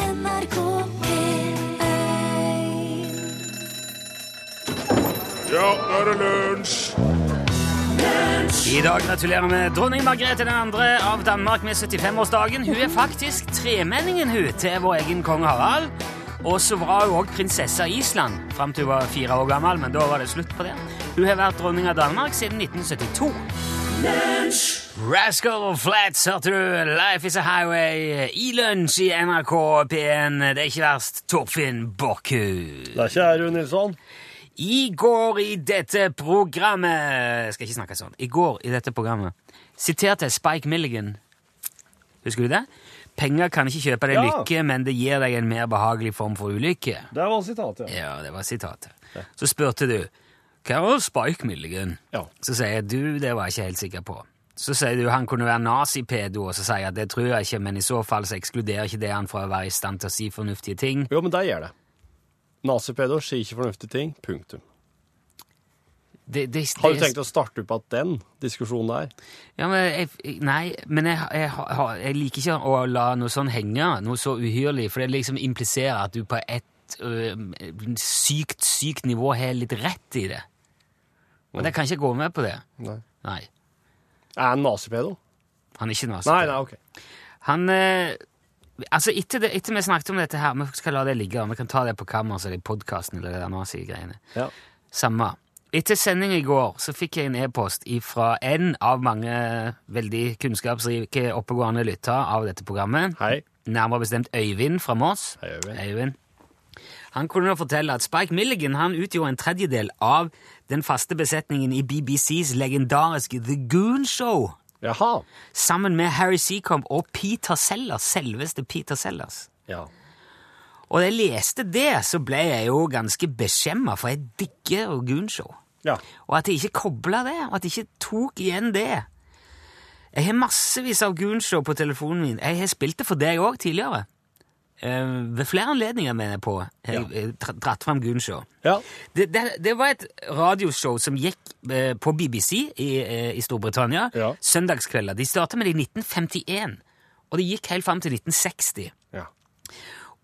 NRK P1 Ja, nå er det lunsj! I dag gratulerer vi dronning Margrethe 2. av Danmark med 75-årsdagen. Hun er faktisk tremenningen hun til vår egen kong Harald. Og så var hun også prinsesse av Island fram til hun var fire år gammel, men da var det slutt på det. Hun har vært dronning av Danmark siden 1972. Rascal Flats, hørte du? Life is a highway i lunsj i NRK P1. Det er ikke verst. Torfinn Borchhus. Det er ikke her, Rune Nilsson. I går i dette programmet Jeg skal ikke snakke sånn. I går i dette programmet siterte jeg Spike Milligan. Husker du det? Penger kan ikke kjøpe deg Ja. lykke, men det gir deg en mer behagelig form for ulykke. Der var sitatet. Ja, det var sitatet. Så spurte du hva var Spike Milligan? Ja. Så sier jeg du, det var jeg ikke helt sikker på. Så sier du han kunne være nazipedo, og så sier jeg at det tror jeg ikke, men i så fall så ekskluderer ikke det han fra å være i stand til å si fornuftige ting. Jo, men der gjør det. Nazipedo sier ikke fornuftige ting. Punktum. Det, det, det, Har du tenkt å starte opp igjen den diskusjonen der? Ja, men jeg, jeg- nei, men jeg, jeg, har- jeg liker ikke å la noe sånn henge, noe så uhyrlig, for det liksom impliserer at du på et ø, sykt, sykt nivå har litt rett i det. Og det kan ikke gå med på det. Mm. Nei. Nei, Er han nazipedo? han er ikke nazi. Nei, nei, ok. Han, ø, altså etter, det, etter vi snakket om dette her, vi skal la det ligge, vi kan ta det på kammeret, eller i podcasten, eller det der nazi-greiene. Ja. Samme. Etter sending i går så fikk jeg en e-post fra en av mange veldig kunnskapsrike, oppegående lyttere av dette programmet. Hei. Nærmere bestemt Øyvind fra Moss. Hei, Øyvind. Han kunne nå fortelle at Spike Milligan han utgjorde en tredjedel av den faste besetningen i BBCs legendariske The Goon Show, Jaha. sammen med Harry Seacombe og Peter Sellers, selveste Peter Sellers. Ja. Og da jeg leste det, så ble jeg jo ganske beskjemma, for jeg digger Goon Show. Ja. Og at jeg ikke kobla det, og at jeg ikke tok igjen det. Jeg har massevis av Goonshow på telefonen min. Jeg har spilt det for deg òg tidligere. Eh, ved flere anledninger, mener jeg på. Jeg Ja. jeg dra- dratt fram Goonshow. Ja. Det, det, det var et radioshow som gikk eh, på BBC i, eh, i Storbritannia Ja. søndagskvelder. De starta med det i 1951, og det gikk helt fram til 1960. Ja.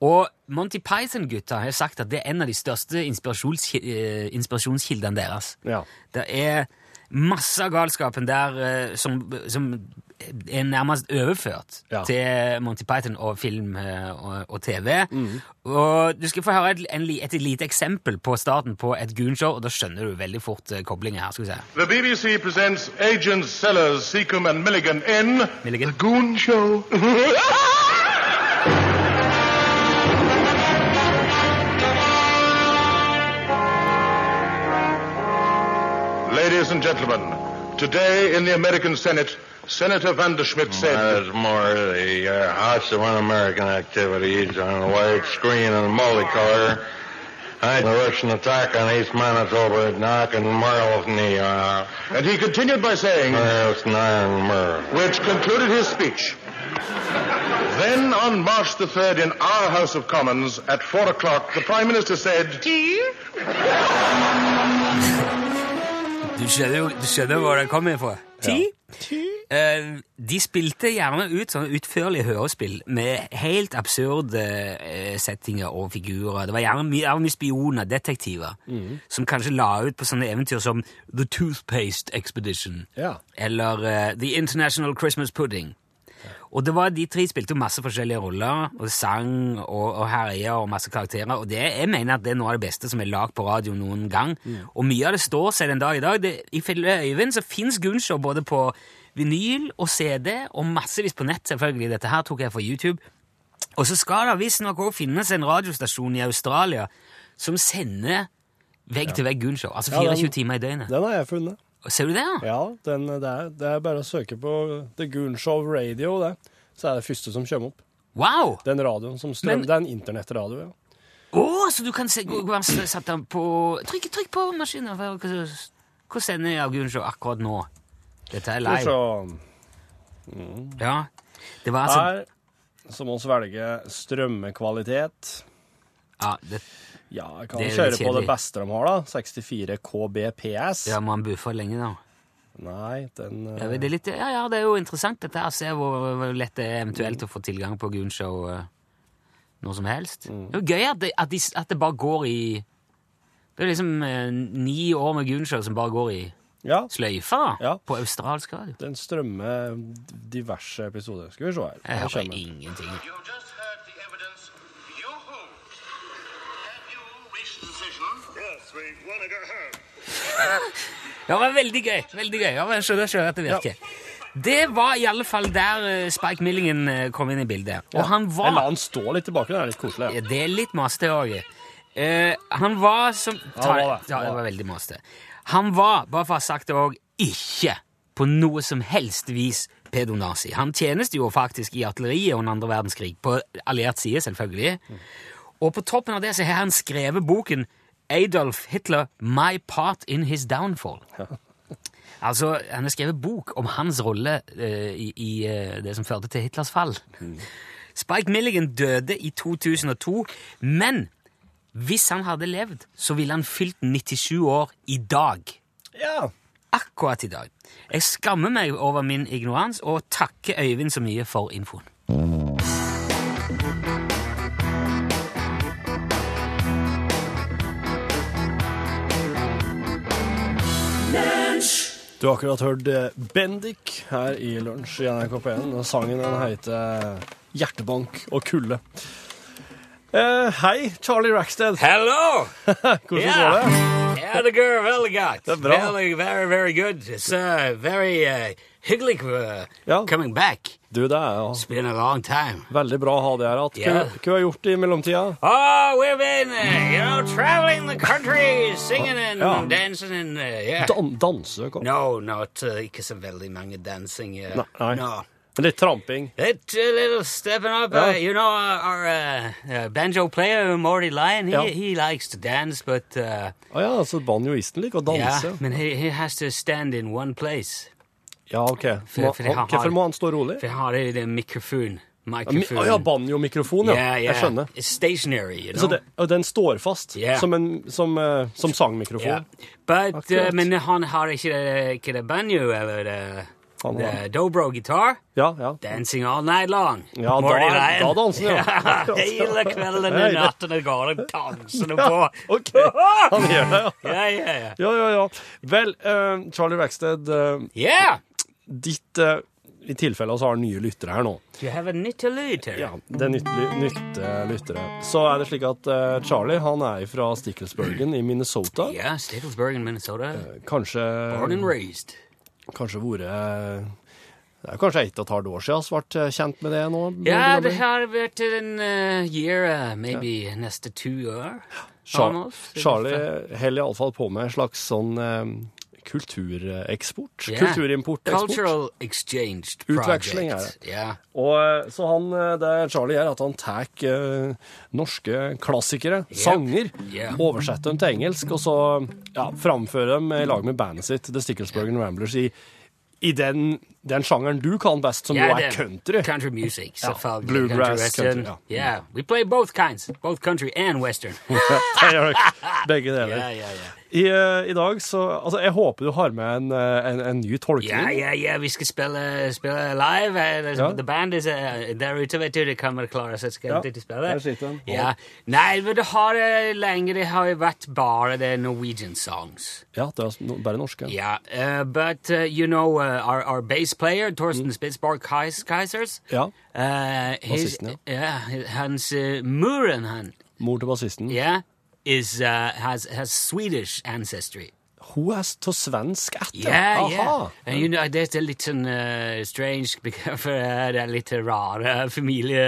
Og Monty Python-gutta har sagt at det er en av de største inspirasjons, eh, inspirasjonskildene deres. Ja. Det er masse av galskapen der eh, som, som er nærmest overført Ja. til Monty Python og film eh, og, og TV. Og du skal få høre et, en, li- et lite eksempel på starten på et Goon-show, og da skjønner du veldig fort eh, koblingen her. skal vi se. The BBC presents Agents Sellers, Seacombe and Milligan in Milligan. The Goon Show. Ladies and gentlemen, today in the American Senate, Senator Vanderschmidt said, That's more the uh, House of Un-American activities on the white screen and multicolor. I, the Russian attack on East Manitoba at Knock and Marlton, uh, and he continued by saying, Marlton Iron Mur. which concluded his speech. Then on March the 3rd in our House of Commons at 4 o'clock, the Prime Minister said, Du skjønner, jo- du skjønner hvor det kommer fra? Ti? Eh, de spilte gjerne ut sånne utførlige hørespill med helt absurde eh, settinger og figurer. Det var gjerne mye, gjerne mye spioner, detektiver, som kanskje la ut på sånne eventyr som The Toothpaste Expedition Ja. eller eh, The International Christmas Pudding. Og det var De tre spilte jo masse forskjellige roller, og sang og, og herja og masse karakterer. Og det, jeg mener at det er noe av det beste som er lagd på radio noen gang. Mm. Og mye av det står seg den dag i dag. Det, ifølge Øyvind så fins Gunshow både på vinyl og CD, og massevis på nett, selvfølgelig. Dette her tok jeg fra YouTube. Og så skal det visstnok òg finnes en radiostasjon i Australia som sender vegg-til-vegg Gunshow. Altså Ja, den- 24 timer i døgnet. Den har jeg funnet. Ser du det, ja? Ja, den, det, er, det er bare å søke på The Goon Show Radio, det. Så er det første som kommer opp. Wow! Den radioen som strømmer. Men- Det er en internettradio, ja. Å, så du kan se, gå, gå, sette den på Trykk, trykk på maskinen. for å- Hvor sender jeg Gunshow akkurat nå? Dette er Skal vi live. se. Ja. Det var altså Her så må vi velge strømmekvalitet. ja, det, Ja, jeg kan Det er jo kjøre litt på det kjedelig. beste de har, da. 64 kbps. ja, Må han buffe lenge, da? Nei, den eh, Ja, det er litt, ja, ja, det er jo interessant dette her. Se hvor, hvor lett det er eventuelt å få tilgang på Gunshow. eh, noe som helst. Det er jo gøy at det, at, de, at det bare går i Det er liksom eh, ni år med Gunshow som bare går i Ja, sløyfa da, Ja. på australsk radio. den strømmer diverse episoder. Skal vi se her. Jeg Her hører kommer den. ingenting. You just heard the evidence you hold. Have you reached a decision? Yes, we want to go home. Ja, det var veldig gøy. veldig gøy. Ja, men jeg skjønner, skjønner at det virker. Det var i alle fall der eh, Spike Millingen eh, kom inn i bildet. Og han var Jeg la han stå litt tilbake, det er litt koselig. Ja, det er litt masete òg. han var som ta, det ja, var det. det var veldig masete. Han var, bare for å ha sagt det òg, ikke på noe som helst vis pedonazi. Han tjenestegjorde faktisk i artilleriet under andre verdenskrig, på alliert side, selvfølgelig. Og på toppen av det så har han skrevet boken Adolf Hitler, My Part in His Downfall. Altså, Han har skrevet bok om hans rolle eh, i, i eh, det som førte til Hitlers fall. Mm. Spike Milligan døde i 2002, men hvis han hadde levd, så ville han fylt 97 år i dag. Ja. Akkurat i dag. Jeg skammer meg over min ignorans og takker Øyvind så mye for infoen. Du har akkurat hørt eh, Bendik her i lunsj i NRK P1. og Sangen den heter eh, Hjertebank og kulde. Eh, hei, Charlie Rackstead. Hello! Hvordan Ja. går det? Yeah, det går veldig godt. Det er bra. Veldig, very, very good. It's uh, very uh, hyggelig uh, Ja. coming back. Du, det er jo It's been a long time. veldig bra å ha deg her igjen. Ja. Hva- Hva har du gjort i mellomtida? Oh, we've been, uh, you know, traveling the country, singing and Ja. dancing and, uh, yeah. Dan danse? kom. No, not uh, ikke så veldig mange dancing. Uh, Nei. No. Litt tramping? That uh, little stepping up, uh, Ja. you know, our, our uh, uh, banjo player, Morty Lyon, he, Ja. he likes to dance, but, uh, Å ja, altså, så banjoisten liker å yeah, danse? men he, he has to stand in one place. Ja, OK. For- Må, for de har- hvorfor må han stå rolig? For jeg har det i det mikrofon. Mi- Mikrofon. Å ja, banjomikrofon, ja. yeah, yeah. Jeg skjønner. It's stationary, you know. Så det, og den står fast Ja. som, en, som, eh, som sangmikrofon? Yeah. But, uh, Akkurat. men han har ikke det, ikke det banjo, eller det, Han har- det dobro guitar. Ja, ja. Dancing all night long. Ja, Morty da- Lyon. da danser han, ja. Hele kvelden Nei, og det- natten og går og danser han på. Eh, OK, han gjør det, ja. Ja, ja, ja. Ja, ja, ja. Vel, eh, Charlie Rackstead, eh, Yeah! ditt eh, I tilfelle så har nye lyttere her nå. You have a nytte lyd her. Ja, Det er nytt, nytte lyttere. Så er det slik at eh, Charlie han er fra Stickelsburgen i Minnesota. Ja, Stattlesburg in Minnesota. Kanskje Born um, and raised. Kanskje vært eh, Det er kanskje ett og et halvt år siden vi ble eh, kjent med det nå? Ja, det Benjamin. har vært en uh, year, uh, maybe neste to år. Char Almost. Charlie uh, holder iallfall på med en slags sånn eh, kultureksport. Ja. Kulturimporteksport. Cultural exchange project. Utveksling er det. Ja. Og eh, Så han, eh, det Charlie gjør, at han tar eh, norske klassikere, sanger, Ja. oversetter dem til engelsk, og så ja, framfører dem eh, i lag med bandet sitt, The Sticklesburgen Ramblers, i, i den, den sjangeren du kan best, som Ja, jo er det- country. Country music. Ja, selvfølgelig. bluegrass country, western. country, ja. yeah, we play both kinds. Both country and western. Det gjør dere. Begge deler. yeah, yeah, yeah. I, eh, I dag så Altså, jeg håper du har med en, eh, en, en ny tolkning. Ja, ja, ja, vi skal spille, spille uh, live. eh, det- Ja. The band is eh, der ute, vet du. De kommer klare seg Ja, er skal til å der spille. sitter den. Ja. Nei, men det har eh, lenge det har jo vært bare det Norwegian songs. Ja, det er altså no- bare norske. Ja, eh, but eh, you know eh, our, our bass player, Torsten Spitzborg Kais Kaisers Mm. Ja. eh, his, Bassisten, ja, Hans eh, Muren, han, Mor til bassisten. yeah, is, eh, has, has Swedish ancestry. Hun er s- til svensk etter. Yeah, yeah. Aha. And you know, det er litt sånn eh, strange, because- for eh, det er litt rare familie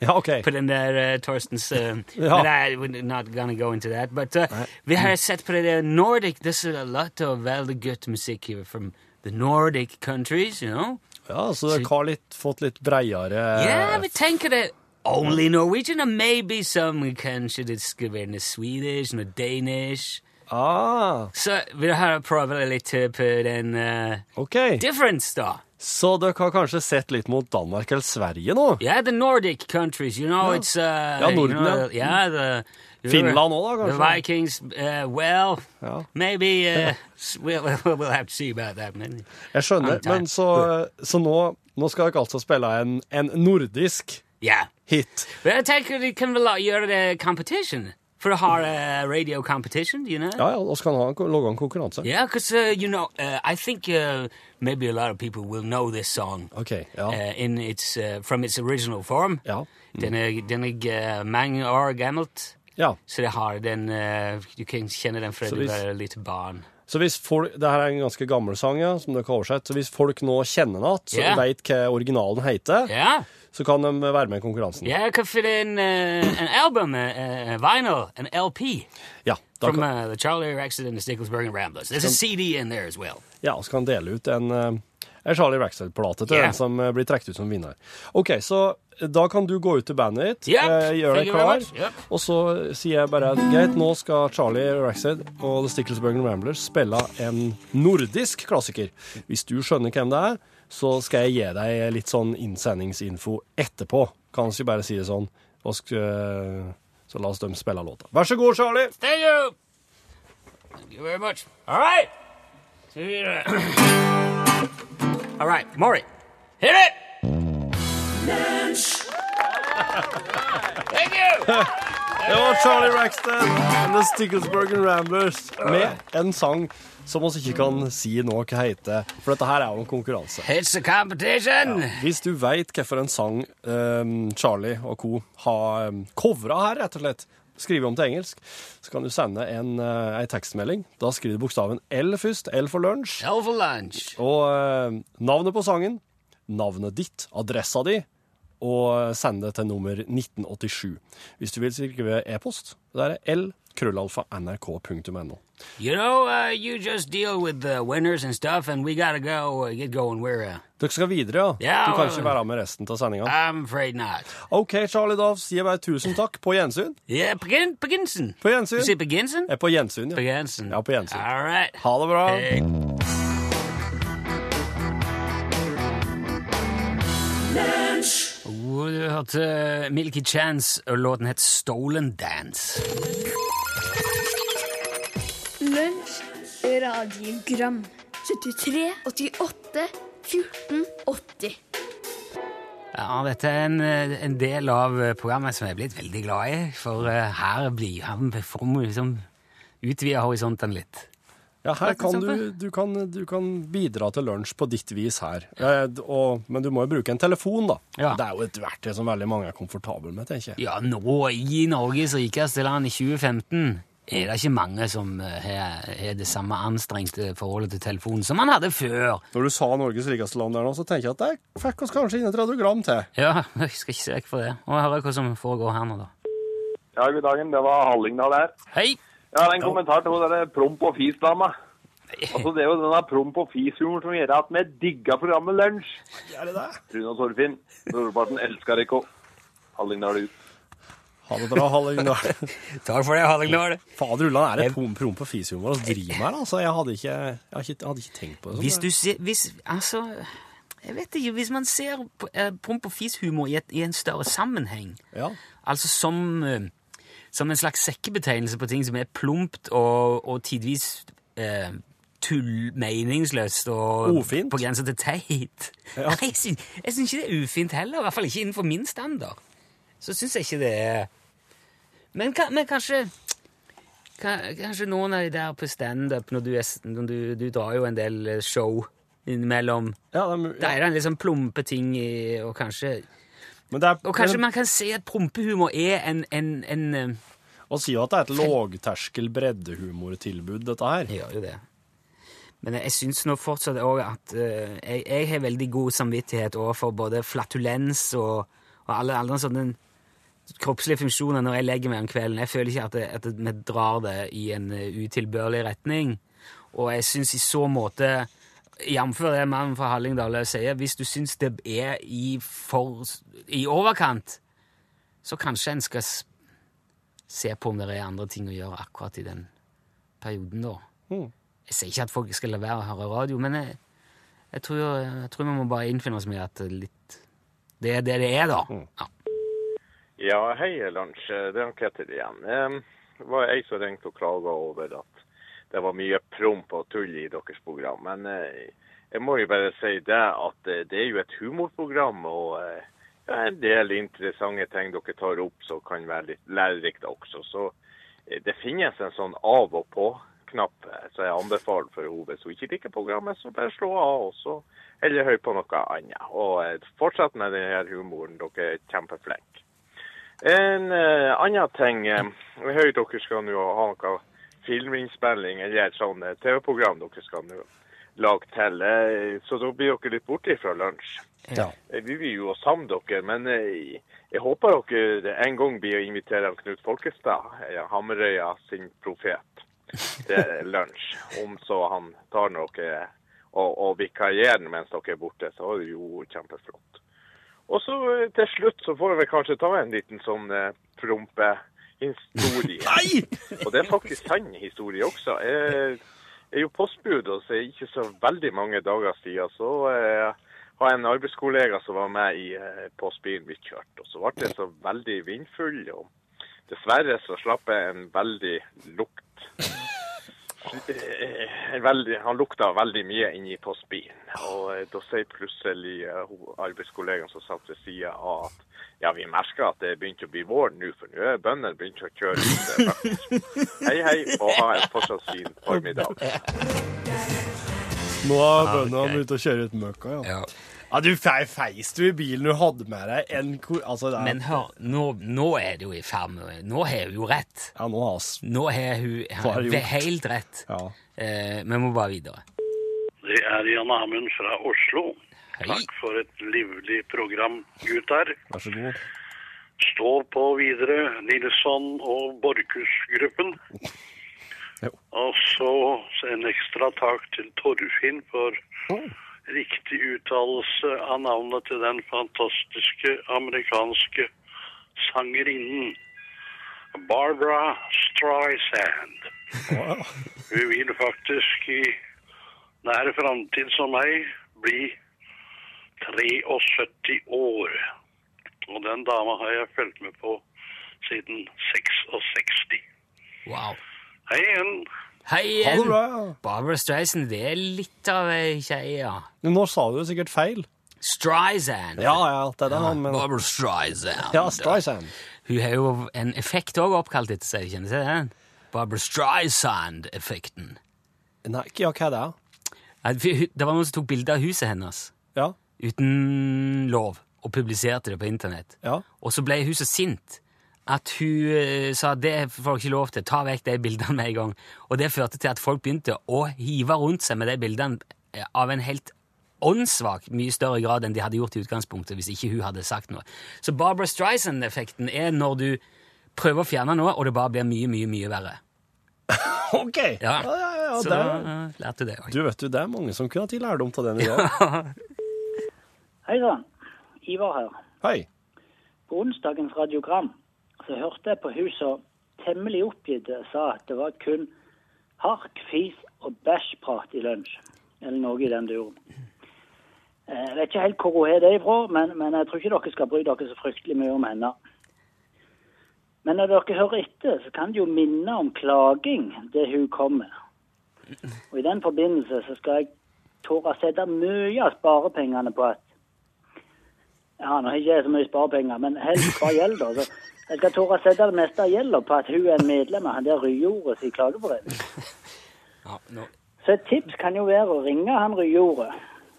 Ja, OK. på den der eh, Torstens eh, Ja. Men I, we're not gonna go into that. But eh, vi har sett på det der Nordic This is a lot of veldig godt musikk here from the Nordic countries, you know. Ja, Så dere har litt, fått litt breiere yeah, vi tenker det. uh, Only Norwegian, or maybe some, kanskje det skulle være noe Swedish, noe Danish. ah, Så vi har prøvd litt eh, på den eh, OK. difference, da. Så dere har kanskje sett litt mot Danmark eller Sverige nå? Yeah, the Nordic countries, you know, Yeah. it's... Uh, Yeah, you Norden, know, yeah. the- yeah, the... Finland også, da, The kanskje? Vikings, uh, well, Yeah. maybe uh, s- we'll, we'll have to see about that. Men. Jeg skjønner. Antar jeg. Men så, så nå, nå skal dere altså spille en, en nordisk Yeah, hit. Well, I take it it can rely on the competition. For a hard uh, radio competition, you know? Ja, ja, og så kan han ha en ko- logge en konkurranse. Yeah, because, uh, you know, uh, I think uh, maybe a lot of people will know this song Ok, ja. uh, in its, uh, from its original form. Ja. Den er, den er uh, mange år gammelt, ja. så det har den eh, Du kan kjenne den fra Så du hvis- var lite barn. Så hvis folk, det her er en ganske gammel sang, ja, som dere har oversett. Så hvis folk nå kjenner den igjen, så Ja. vet hva originalen heter, Ja, så kan de være med i konkurransen. ja jeg kan finne en, eh, en album, en vinyl, en LP, Ja, da from kan, uh, the Charlie Rexon and the Sticklesburg and Ramblers. There's a CD in there as well. ja, så kan de dele ut en, eh, en Charlie Rackstead-plate til Ja. den som eh, blir trukket ut som vinner. Ok, så eh, da kan du gå ut til bandet ditt, Ja, eh, gjøre thank deg you very klar, much. Ja. og så sier jeg bare at greit, nå skal Charlie Rackstead og The Sticklesburgen Ramblers spille en nordisk klassiker. Hvis du skjønner hvem det er, så skal jeg gi deg litt sånn innsendingsinfo etterpå. Kan ikke bare si det sånn. Og sk eh, så la oss dem spille låta. Vær så god, Charlie! Thank you! Thank you very much. All right! See you later. All right, Maury, hit it! Thank you! Det var Charlie Rackstead and The Sticklesburgen Ramblers med en sang som vi ikke kan si nå hva heter, for dette her er jo en konkurranse. It's a competition! Hvis du veit hvilken sang ehm, Charlie og co. har um, covra her, rett og slett, skrevet om til engelsk, så kan du sende en, eh, ei tekstmelding. Da skriver du bokstaven L først. L for lunsj. Hell for lunch. Og eh, navnet på sangen, navnet ditt, adressa di, og send det til nummer 1987. Hvis du vil skrive e-post, det er det l-krøllalfa-nrk.no. You know, uh, you just deal with the winners and stuff, and we gotta go uh, get going. We're, uh, Dere skal videre, ja? Ja, du kan og- ikke være med resten av sendinga. I'm afraid not. OK, Charlie Dove, sier bare tusen takk. På gjensyn. Yeah, Begin, Beginson. På gjensyn. You say Beginson? Eh, På gjensyn, ja. Beginson. Ja, på gjensyn. All right. Ha det bra. Hey. Oh, Du hørte uh, Milky Chance, og låten het Stolen Dance. Lunsj, radiogram 73, 88, 14, 80 Ja, dette er en, eh, en del av eh, programmet som jeg er blitt veldig glad i, for eh, her blir han får man liksom utvide horisonten litt. Ja, her Takk, kan du, Kristoffer. du, kan, du kan bidra til lunsj på ditt vis her. Eh, d- og, men du må jo bruke en telefon, da. Ja. Det er jo et verktøy som veldig mange er komfortable med, tenker jeg. Ja, nå i Norges rikeste land i 2015 er det ikke mange som eh, har har det samme anstrengte forholdet til telefonen som man hadde før. Når du sa Norges rikeste land der nå, så tenker jeg at der fikk oss kanskje innen 30 gram til. Ja, jeg skal ikke se vekk fra det. Og høre hva som foregår her nå, da. Ja, god dagen. Det var Hallingdal her. Hei! Jeg har en kommentar til hun der eh, promp og fis-dama. Altså, Det er jo denne promp og fis-humoren som gjør at vi digger programmet Lunsj. Er det det? Rune og Torfinn, brorparten elsker dere. Hallingdal ut. Ha det bra, Hallingdal. Takk for det, Hallingdal. Fader Ulland, er det prom, prom på fishumor vi driver med her? Altså, jeg hadde ikke, jeg hadde ikke, jeg hadde ikke tenkt på det. sånn. Hvis du ser Hvis Altså Jeg vet ikke. Hvis man ser på, eh, promp- og fishumor i, et- i en større sammenheng, Ja. altså som eh, som en slags sekkebetegnelse på ting som er plumpt og, og tidvis eh, tull, meningsløst og Ufint. på grensa til teit. Nei, jeg syns jeg syns ikke det er ufint heller, i hvert fall ikke innenfor min standard. Så syns jeg ikke det er Men, ka- men kanskje ka- Kanskje noen av de der på standup når, du, er s- når du, du drar jo en del eh, show innimellom. Ja, det er, mu- Da er det en litt sånn plumpe ting i, og kanskje Men det er, Og kanskje men, man kan si at prompehumor er en, en, en eh, å si jo at det er et lågterskel breddehumortilbud, dette her. Jeg gjør jo det. Men jeg syns nå fortsatt òg at eh, jeg, jeg har veldig god samvittighet overfor både flatulens og, og alle andre sånne kroppslige funksjoner når jeg legger meg om kvelden. Jeg føler ikke at, det, at vi drar det i en eh, utilbørlig retning. Og jeg syns i så måte Jf. det mannen fra Hallingdal sier, hvis du syns det er i, for, i overkant, så kanskje en skal s- se på om det er andre ting å gjøre akkurat i den perioden, da. Jeg sier ikke at folk skal la være å høre radio, men jeg, jeg, tror, jeg tror vi må bare innfinne oss med at det er litt Det er det det er, da. Mm. Ja. Ja, hei, Lunsj. Det er Ketil igjen. Em, Det var jeg som ringte og klaga over at det var mye promp og tull i deres program. Men eh, jeg må jo bare si det at eh, det er jo et humorprogram, og eh, ja, en del interessante ting dere tar opp som kan være litt lærerikt også. Så eh, det finnes en sånn av og på-knapp eh, som jeg anbefaler for henne. Hvis hun ikke liker programmet, så bare slå av og så heller hør på noe annet. Og eh, fortsett med denne humoren. Dere er kjempeflinke. En eh, annen ting eh, Jeg hører dere skal nå ha noe filminnspilling eller et sånt eh, TV-program dere skal nå lage til. eh, Så da blir dere litt borte fra lunsj. Ja. Eh, Vi vil jo sammen dere, men eh, jeg håper dere eh, en gang blir å invitere han Knut Folkestad, eh, Hamarøya sin profet, til lunsj. Om så han tar noe eh, og, og vikarierer mens dere er borte, så er det jo kjempeflott. Og så eh, til slutt så får vi kanskje ta en liten sånn eh, prompehistorie. Og det er faktisk sann historie også. Jeg jeg er jo postbud, og så er det ikke så veldig mange dager siden så eh, har jeg en arbeidskollega som var med i eh, postbilen vi kjørte. Og så ble det så veldig vindfull, og dessverre så slapp jeg en veldig lukt. Eh, en Veldig, han lukta veldig mye inni postbilen. Og eh, da sier plutselig eh, ho- arbeidskollegaen som satt ved sida av at ja, vi merker at det begynte å bli vår nå, for nå er bøndene begynt å kjøre ut. eh, Hei, hei, og ha en fortsatt fin formiddag. Nå har Ah, ok. bøndene begynt å kjøre ut møkka, ja. Ja. Ja, du fe- feis du i bilen du hadde med deg en ko... Altså, det er, Men hør, nå, nå er det jo i ferd med Nå har hun jo rett. Ja, nå har vi Nå har hun Hva har hun hun gjort? helt rett. Ja. Eh, vi må bare videre. Det er Jan Amund fra Oslo. Hei. Takk for et livlig program, gutter. Vær så god. Stå på videre, Nilsson og Borchhus-gruppen. Jo. Og så en ekstra takk til Torfinn for riktig uttalelse av navnet til den fantastiske amerikanske sangerinnen Barbara Streisand. Ja, ja. Hun vil faktisk i nær framtid som meg bli 73 år. Og den dama har jeg fulgt med på siden 66. Wow. Hei igjen. Hei Ha det igjen. bra, ja. Barbara Streisand, det er litt av ei kjeie. ja. Men Nå sa du det sikkert feil. Streisand. Ja, ja, det er det han mener. Barbara Streisand. Ja, Streisand. Hun har jo en effekt òg oppkalt etter seg. Kjenner du til den? Barbara Streisand-effekten. Nei, ikke- ja, hva er det? Nei, for hun- Det var noen som tok bilde av huset hennes Ja, uten lov og publiserte det på internett. ja. Og så ble huset sint. At hun eh, sa det får dere ikke lov til, ta vekk de bildene med en gang. Og det førte til at folk begynte å hive rundt seg med de bildene eh, av en helt åndssvak mye større grad enn de hadde gjort i utgangspunktet hvis ikke hun hadde sagt noe. Så Barbara Streisand-effekten er når du prøver å fjerne noe, og det bare blir mye, mye, mye verre. OK! ja, Ja. ja, ja så det da er- eh, lærte du det òg. Du vet du, det er mange som kunne hatt lærdom av den i dag. Hei sann, Ivar her. Hei. På onsdagens radiogram så hørte jeg på hun som temmelig oppgitt sa at det var kun hark, fis og bæsjprat i lunsj. Eller noe i den duren. Eh, Jeg vet ikke helt hvor hun har det ifra, men, men jeg tror ikke dere skal bry dere så fryktelig mye om henne. Men når dere hører etter, så kan det jo minne om klaging, det hun kom med. Og i den forbindelse så skal jeg tåre å sette mye av sparepengene på at ja, nå har ikke jeg så mye sparepenger, men helst hva gjelder. Så jeg skal tåre å sette det meste av gjelda på at hun er medlem av han der Ryjordet sin klageforening. Ja, nå- Så et tips kan jo være å ringe han Ryjordet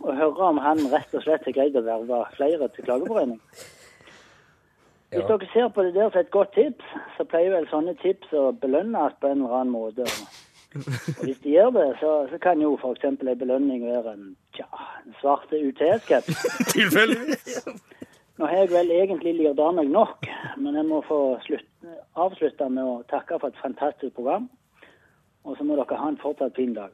og høre om han rett og slett har greid å verve flere til klageforening. Hvis dere ser på det der som et godt tips, så pleier vel sånne tips å belønnes på en eller annen måte. Og hvis de gjør det, så, så kan jo f.eks. en belønning være en, tja, en svarte UTS-caps. Tilfeldigvis. Nå har jeg vel egentlig lirt av meg nok, men jeg må få slutt, avslutte med å takke for et fantastisk program. Og så må dere ha en fortsatt fin dag.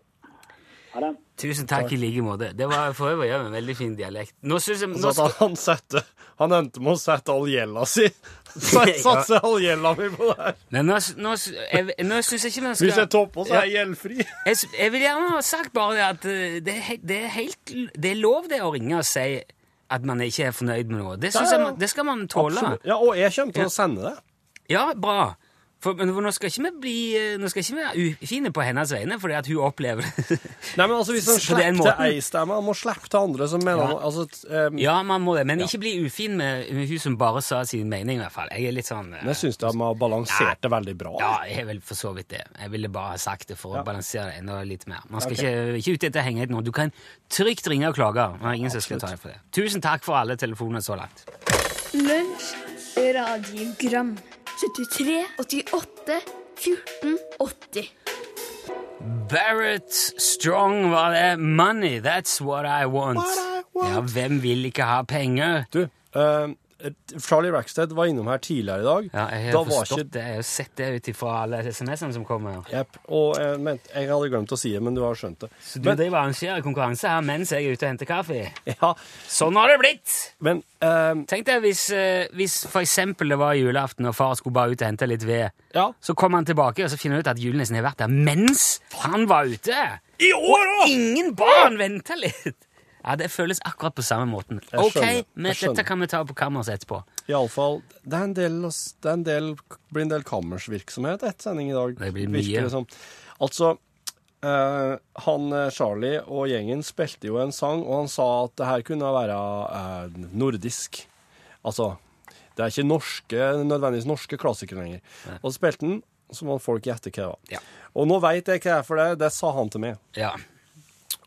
Ha det. Tusen takk, i like måte. Det var for øvrig ja, en veldig fin dialekt. Nå synes jeg... Nå Så at han, sette, han endte med å sette all gjelda si. Sat- Satse all gjelda mi på det her. Nei, nå, nå, jeg, nå syns jeg ikke man skal Hvis jeg topper, så er jeg gjeldfri. Jeg, s- jeg vil gjerne ha sagt bare det at eh, det er, he- det er helt l- Det er lov det å ringe og si at man ikke er fornøyd med noe. Det, Ja, ja, synes jeg ja. man, det skal man tåle. Absolutt. Ja, og jeg kommer til å sende det. Ja, bra. For, men for nå skal ikke vi bli eh, Nå skal ikke vi være ufine på hennes vegne, fordi at hun opplever det. Nei, men altså, hvis han På den slipper måten. til ei stemme, han må slippe til andre som mener Ja. noe. Altså, t- um, Ja, man må det, men Ja. ikke bli ufin med, med hun som bare sa sin mening, i hvert fall. Jeg er litt sånn eh, Men jeg syns de har balansert det veldig bra. Ja, jeg er vel for så vidt det. Jeg ville bare ha sagt det for Ja. å balansere det enda litt mer. Man skal Ok. ikke, ikke ut etter å henge ut noen. Du kan trygt ringe og klage. Det er ingen som skal ta deg for det. Tusen takk for alle telefonene så langt. Lunsj radiogram 73 88 14 80 Barrett Strong var det. Money, that's what I want. Ja, hvem vil ikke ha penger? Du, um, Charlie Rackstead var innom her tidligere i dag. Ja, jeg Da har var forstått ikke- det. Jeg har sett det ut ifra alle SMS-ene som kommer. Jepp. Og jeg, mente- jeg hadde glemt å si det, men du har skjønt det. Så du Men- driver og arrangerer konkurranse her mens jeg er ute og henter kaffe? Ja, Sånn har det blitt! Men Tenk deg hvis, eh, hvis for eksempel det var julaften og far skulle bare ut og hente litt ved. Så kom han tilbake og så finner han ut at julenissen har vært der mens han var ute! I år Og ingen barn venter litt! Ja, Det føles akkurat på samme måten. Jeg ok, skjønner, men jeg skjønner. dette kan vi ta på kammeret etterpå. Iallfall Det er en del, det er en del, blir en del kammersvirksomhet etter sending i dag. Det blir mye. Altså, eh, han eh, Charlie og gjengen spilte jo en sang, og han sa at det her kunne være eh, nordisk. Altså Det er ikke norske, nødvendigvis norske klassikere lenger. Og så spilte han, så må folk gjette hva det var. Og nå veit jeg hva det er for det, det sa han til meg. Ja.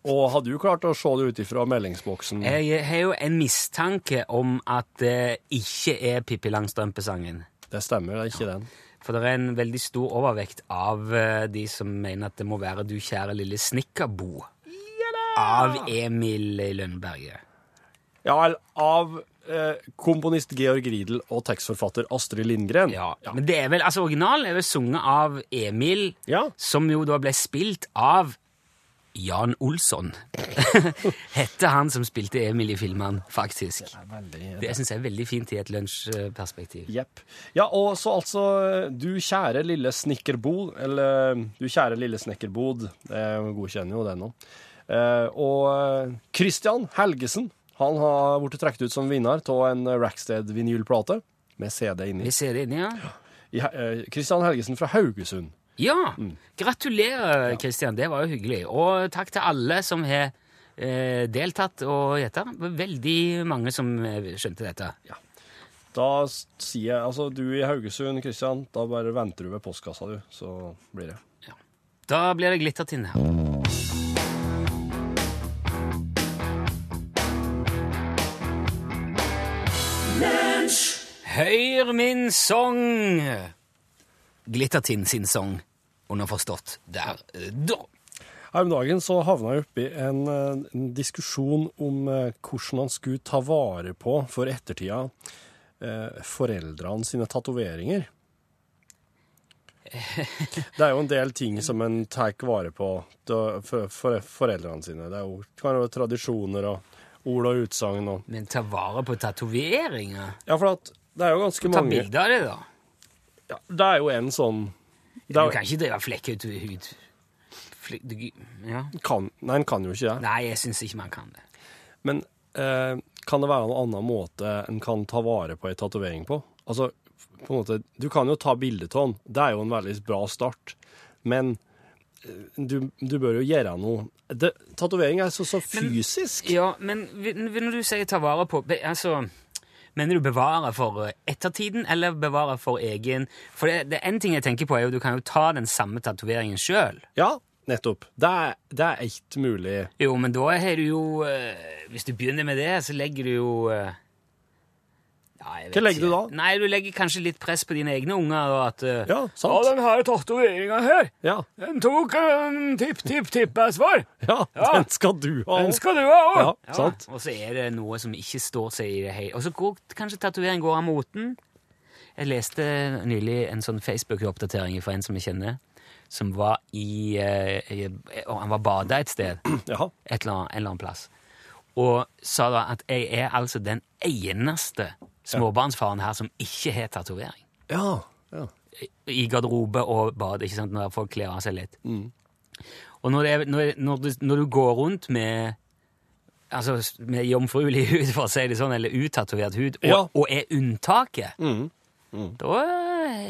Og hadde du klart å se det ut ifra meldingsboksen? Jeg har jo en mistanke om at det ikke er Pippi Langstrømpe-sangen. Det stemmer, det er ikke den. For det er en veldig stor overvekt av eh, de som mener at det må være Du kjære lille snekkerbo av Emil Lønneberget. Ja, eller av eh, komponist Georg Riedel og tekstforfatter Astrid Lindgren. Ja, Men det er vel, altså originalen er vel sunget av Emil, som jo da ble spilt av Jan Olsson. Hette han som spilte Emil i filmen, faktisk. Det syns jeg er veldig fint i et lunsjperspektiv. Jepp. Ja, og så altså Du kjære lille snekkerbod, eller eh, Du kjære lille snekkerbod, jeg godkjenner jo det nå. Eh, og eh, Christian Helgesen, han har blitt trukket ut som vinner av en Rackstead-vinylplate med CD inni. Med CD inni, ja. I, eh, Christian Helgesen fra Haugesund. Ja! Gratulerer, Kristian. Det var jo hyggelig. Og takk til alle som har eh, deltatt og gjetta. Det var Veldig mange som eh, skjønte dette. Da s- sier jeg Altså, du i Haugesund, Christian, da bare venter du ved postkassa, du, så blir det. Da blir det glittert inn her. Hør min sang! Glittertind sin sang, underforstått der, eh, da. Her om dagen så havna jeg oppi en, eh, en diskusjon om eh, hvordan han skulle ta vare på for ettertida eh, foreldrene sine tatoveringer. Det er jo en del ting som en tar vare på da- for, for foreldrene sine. Det er jo, det kan jo være tradisjoner og ord og utsagn og Men ta vare på tatoveringer. Ja, for at det er jo ganske Ta mange bilde av det, da. Ja, det er jo en sånn det Du er, kan ikke drive flekke ut hud. Fle- du- Ja. kan, Nei, en kan jo ikke det. Nei, jeg syns ikke man kan det. Men eh, kan det være noen annen måte en kan ta vare på en tatovering på? Altså, på en måte, du kan jo ta bilde av den. Det er jo en veldig bra start. Men eh, du, du bør jo gjøre noe. Det- Tatovering er så, så fysisk. Ja, men vi- når du sier ta vare på be- altså, Mener du bevare for eh, ettertiden, eller bevare for egen For det, det er en ting jeg tenker på, er jo du kan jo ta den samme tatoveringen sjøl. Ja, nettopp. Det er, det er ikke mulig. Jo, men da har du jo eh, Hvis du begynner med det, så legger du jo eh, ja, jeg vet Hva legger du ikke. Nei, Du legger kanskje litt press på dine egne unger. Og at, eh, Ja, sant. «Å, den her tatoveringa her, Ja. den tok en tipp-tipp-tipp-svar. Ja, den skal du ha. Den skal du ha òg! Ja, sant. Og så er det noe som ikke står seg i det hele Og så går kanskje tatovering går av moten. Jeg leste nylig en sånn Facebook-oppdatering fra en som jeg kjenner, som var i, eh, i og Han var bada et sted, et eller annet, en eller annen plass, og sa da at jeg er altså den eneste småbarnsfaren her som ikke har tatovering. Ja. ja. I garderobe og bad, ikke sant, når folk kler av seg litt. Mm. Og når, det er, når, når, du, når du går rundt med Altså med jomfruelig hud, for å si det sånn, eller utatovert hud, og, Ja. Mm. og er unntaket, da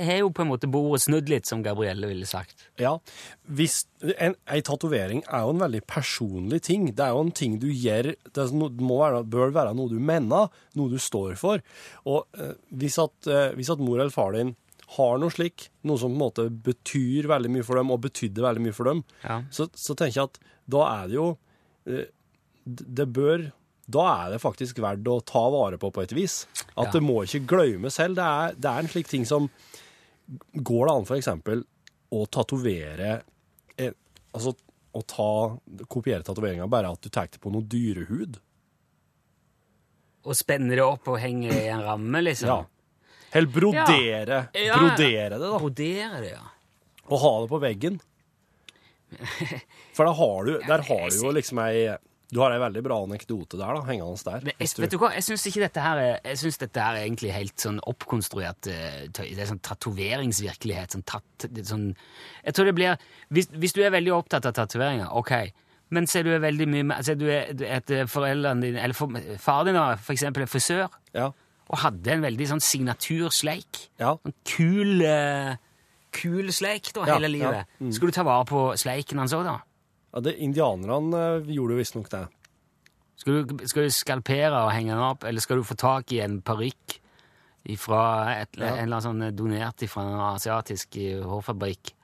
har jo på en måte bordet snudd litt, som Gabrielle ville sagt. Ja, hvis, en, ei tatovering er jo en veldig personlig ting. Det er jo en ting du gjør Det er no- det må være, bør være noe du mener, noe du står for. Og eh, hvis, at, eh, hvis at mor eller far din har noe slik, noe som på en måte betyr veldig mye for dem, og betydde veldig mye for dem, så, så tenker jeg at da er det jo eh, d- Det bør da er det faktisk verdt å ta vare på på et vis. At Ja. det må ikke glemmes selv. Det er, det er en slik ting som Går det an for eksempel å tatovere eh, Altså å ta, kopiere tatoveringa bare at du tar det på noe dyrehud? Og spenner det opp og henger i en ramme, liksom. Ja. Eller brodere, Ja. brodere det, da. Brodere det, ja. Og ha det på veggen. For da har du, der har du jo liksom ei Du har ei veldig bra anekdote der, da, hengende der. Jeg, hvis vet du hva, jeg syns ikke dette her er Jeg synes dette her er egentlig helt sånn oppkonstruert eh, tøy. Det er sånn tatoveringsvirkelighet. Sånn tat, det er sånn, jeg tror det blir hvis, hvis du er veldig opptatt av tatoveringer, ok. Men ser du er veldig mye mer ser du er, du- at eh, foreldrene dine Eller for, faren din, da, for eksempel, er frisør. Og hadde en veldig sånn signatursleik. Sånn kul, eh, kul sleik da, Ja, ja. hele livet. Mm. Skulle du ta vare på sleiken hans òg, da? Ja, det, indianerne eh, gjorde jo visstnok det. Skal du, skal du skalpere og henge den opp, eller skal du få tak i en parykk fra et, Ja. en eller annen sånn donert fra en asiatisk eh, hårfabrikk?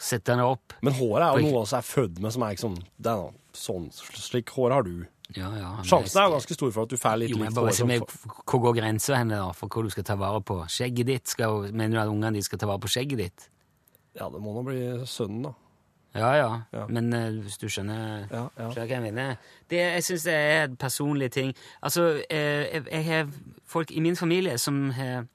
Sette den opp? Men håret er På jo ikke- noe vi er født med, som er liksom det er noe, sånn, Slik hår har du. Ja, ja. men Sjansen er jo ganske stor for at du får litt Jo, men likt bare hår. se som med fa- hvor går grensa hen da, for hva du skal ta vare på. Skjegget ditt, skal, mener du at ungene dine skal ta vare på skjegget ditt? Ja, det må nå bli sønnen, da. Ja, ja, men eh, hvis du skjønner, skjønner hva jeg mener. Det, jeg syns det er en personlig ting. Altså, eh, jeg, jeg har folk i min familie som har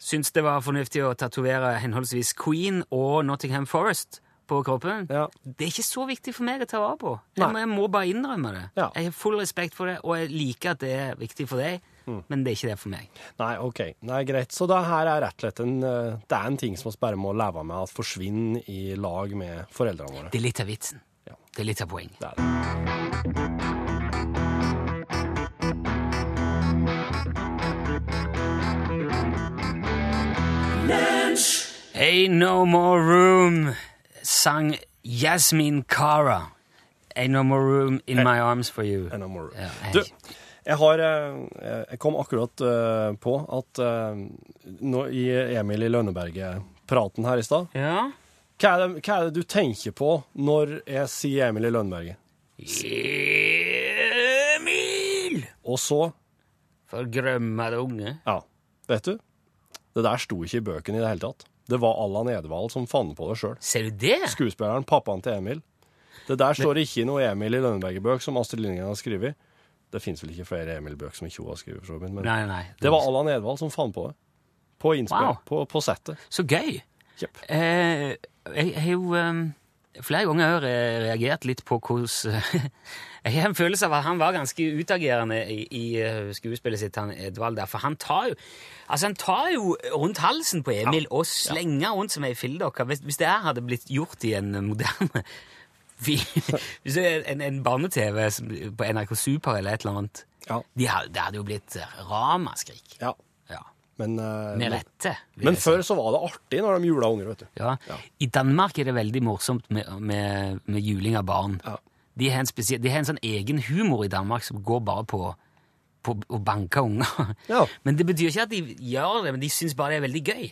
syntes det var fornuftig å tatovere henholdsvis Queen og Nottingham Forest på kroppen. Det er ikke så viktig for meg å ta vare på. Jeg, må- jeg må bare innrømme det. Jeg har full respekt for det, og jeg liker at det er viktig for deg, men det er ikke det for meg. Nei, ok. Nei, greit. Så det her er rett og slett en, eh, det er en ting som vi bare må leve med at forsvinner i lag med foreldrene våre. Det er litt av vitsen. Det er litt av poenget. Ain't No More Room sang Yasmin Cara. Ain't No More Room In My Arms For You. Ain't No More Room. Ja, hei. Du, jeg har eh, Jeg kom akkurat eh, på at eh, nå i Emil i Lønneberget-praten her i stad hva, er det- hva er det du tenker på når jeg sier Emil i Lønneberget? Emil! Og så Forgrømmede unge. Ja. Vet du, det der sto ikke i bøkene i det hele tatt. Det var Allan Edvald som fant på det sjøl. Ser du det? Skuespilleren, pappaen til Emil. Det der står ikke i noe Emil i Lønneberget-bøk som Astrid Lindgren har skrevet. Det fins vel ikke flere Emil-bøk som ikke hun har skrevet, for så vidt. Men Nei, nei. det var Allan Edvald som fant på det. På innspill. Wow. På, på settet. Så gøy! Jepp. Eh, jeg har jo eh, flere ganger også, eh, reagert litt på hvordan eh, Jeg har en følelse av at han var ganske utagerende i, i eh, skuespillet sitt, han Edvald der. For han tar jo altså han tar jo rundt halsen på Emil og slenger rundt som ei filledokke. Hvis, hvis det her hadde blitt gjort i en eh, moderne fi- Hvis det er en, en barne-TV som- på NRK Super eller et eller annet de hadde, Det hadde jo blitt eh, ramaskrik. Ja. Men, eh, Med men- rette. vil Men jeg si. før så var det artig når de jula unger, vet du. Ja. I Danmark er det veldig morsomt med, med, med juling av barn. De, har en spesiell, de har en sånn egen humor i Danmark som går bare på, på å banke unger. Men det betyr ikke at de gjør det, men de syns bare det er veldig gøy.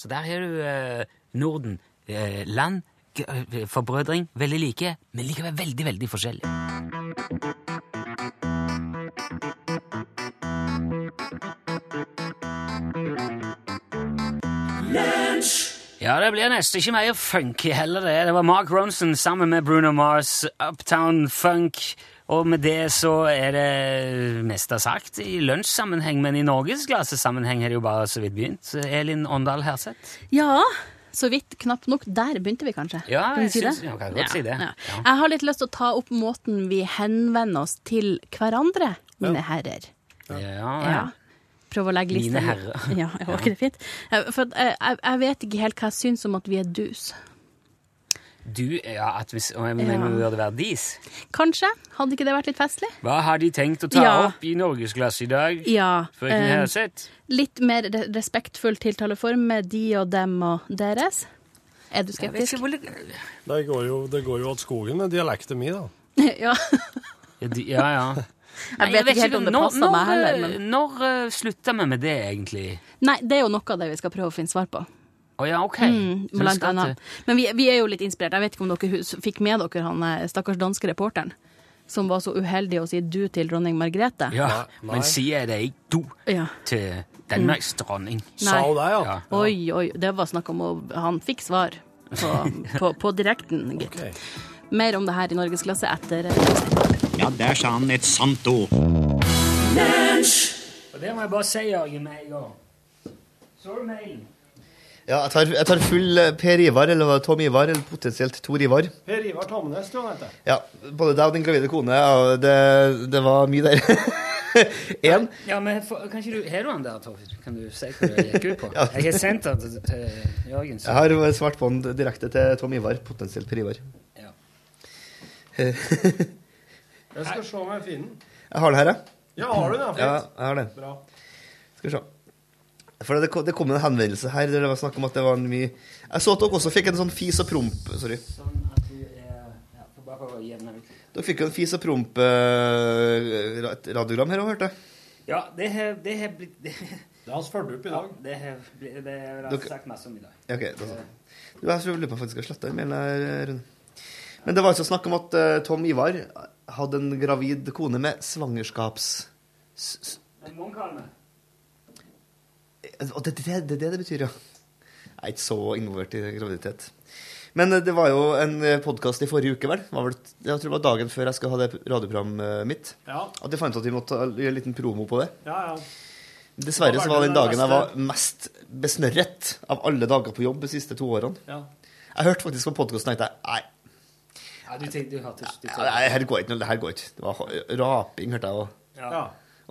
Så der har du eh, Norden. Eh, land, g- eh, forbrødring, veldig like, men likevel veldig, veldig forskjellig. Ja, det blir nesten ikke mer funky heller, det. Det var Mark Ronson sammen med Bruno Mars, Uptown Funk. Og med det så er det mest av sagt i lunsjsammenheng, men i norgesklassesammenheng har det jo bare så vidt begynt. Elin Åndal Herseth. Ja, så vidt, knapt nok. Der begynte vi kanskje. Ja, Kan vi jeg si det? syns- ja, kan jeg godt si det. Ja. Jeg har litt lyst til å ta opp måten vi henvender oss til hverandre, mine herrer. Ja, Ja. Prøv å legge Mine lista litt- herrer. Ja, var eh, ikke det fint? Eh, For at jeg, jeg- jeg vet ikke helt hva jeg syns om at vi er dus. Du, ja, at hvis, og jeg mener Ja. det burde være dis. Kanskje? Hadde ikke det vært litt festlig? Hva har de tenkt å ta Ja. opp i norgesglasset i dag? Ja. Frøken eh, Herseth? Litt mer re respektfull tiltaleform med de og dem og deres. Er du skeptisk? Det går jo, det går jo åt skogen med dialekten min, da. ja. Ja, de, ja. ja. Jeg vet ikke helt om det når- passer meg når, heller, eh, men- Når eh, slutta vi med det, egentlig? Nei, det er jo noe av det vi skal prøve å finne svar på. Å ja, OK. Mm, Så vi blant skal annet. til- Men vi, vi er jo litt inspirert. Jeg vet ikke om dere hus- fikk med dere han eh, stakkars danske reporteren som var så uheldig å si du til dronning Margrethe. Ja, men sier jeg det ikke du Ja. til Danmarks dronning? Nei. ja. Oi, oi. Det var snakk om å Han fikk svar på, på, på direkten, gitt. Mer om det her i Norgesklasse etter Ja, der sa han et sant ord. Og det må jeg bare si, Jørgen, med en gang. Så du mailen? Ja, jeg tar, jeg tar full eh, Per Ivar, eller hva, Tom Ivar, eller potensielt Tor Ivar. Per Ivar Tamnes, tror jeg han heter. Ja, både deg og din gravide kone, ja, det, det var mye der. En, Ja, men for, kan ikke du, Har du den der, Torfinn? Kan du si hva det gikk ut på? Jeg har sendt den til, til Jørgen. så- jeg har svart på den direkte til Tom Ivar, potensielt Per Ivar. Ja. jeg Jeg skal se om jeg finner den. har det her, jeg. Ja, har du den? Ja, jeg har det. Bra. Skal vi se. For det, kom- det kom en henvendelse her der det var snakk om at det var en mye Jeg så at dere også fikk en sånn fis og promp Sorry. Sånn at du er ja, for bare for å jevne ut. Dere fikk jo en fis og promp-radiogram her òg, hørte jeg. Ja, det har det har blitt Det har vi fulgt opp i dag. Ja, det har blitt Det har Dere- jeg sagt masse om i dag. Ja, ok, da så. Du, jeg lurer på om jeg faktisk har sletta den mailen her, eh, Rune. Men det var altså snakk om at eh, Tom Ivar hadde en gravid kone med svangerskaps... s- s- Men Munkholmen, eh, Og det er det, det, det det betyr, ja. Jeg er ikke så involvert i graviditet. Men eh, det var jo en podkast i forrige uke, vel? Var vel jeg tror det var dagen før jeg skulle ha det radioprogrammet eh, mitt. Ja. At jeg fant ut at vi måtte gjøre en liten promo på det. Ja, ja. Dessverre Hva så var var det den den dagen jeg var mest besnørret av alle dager på jobb de siste to årene. Ja. Jeg hørte faktisk på podkasten og tenkte nei, Ja, du tenkte du hørte du nei, nei, her går ikke. Det her går ikke. Det var ho- raping, hørte jeg. Og, Ja.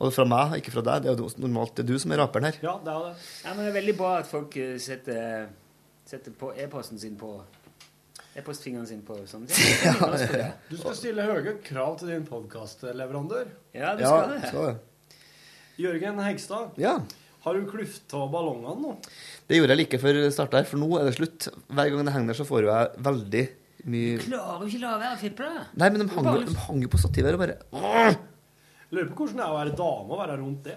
og fra meg, ikke fra deg. Det er jo normalt det er du som er raperen her. Ja, det er det. Ja, men det er veldig bra at folk eh, setter, setter på e-posten sin på E-postfingeren sin på sånne ting. ja. Du skal stille høye krav til din podkastleverandør. Ja, du Ja, skal det. skal det. Jørgen Hegstad, Ja. har du klufta ballongene nå? Det gjorde jeg like før start her, for nå er det slutt. Hver gang det henger der, så får jo jeg veldig mye Klarer jo ikke la være å fiple. Nei, men de hang, jo- de hang jo på stativet her og bare Åh! Lurer på hvordan det er å være dame og være rundt det.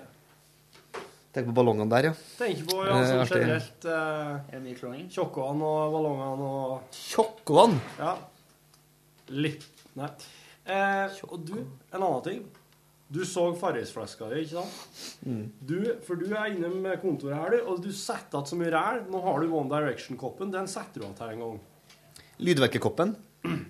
Tenk på ballongene der, ja. Tenker på ja, Eh, sånn artig. generelt eh, Tjokkene og ballongene og Tjokkene? Ja. Litt Nei. Eh, og du, en annen ting. Du så Farris-flaska di, ikke sant? Mm. Du, for du er innom kontoret her, du, og du setter igjen så mye ræl. Nå har du One Direction-koppen. Den setter du igjen her en gang. Lydverkekoppen?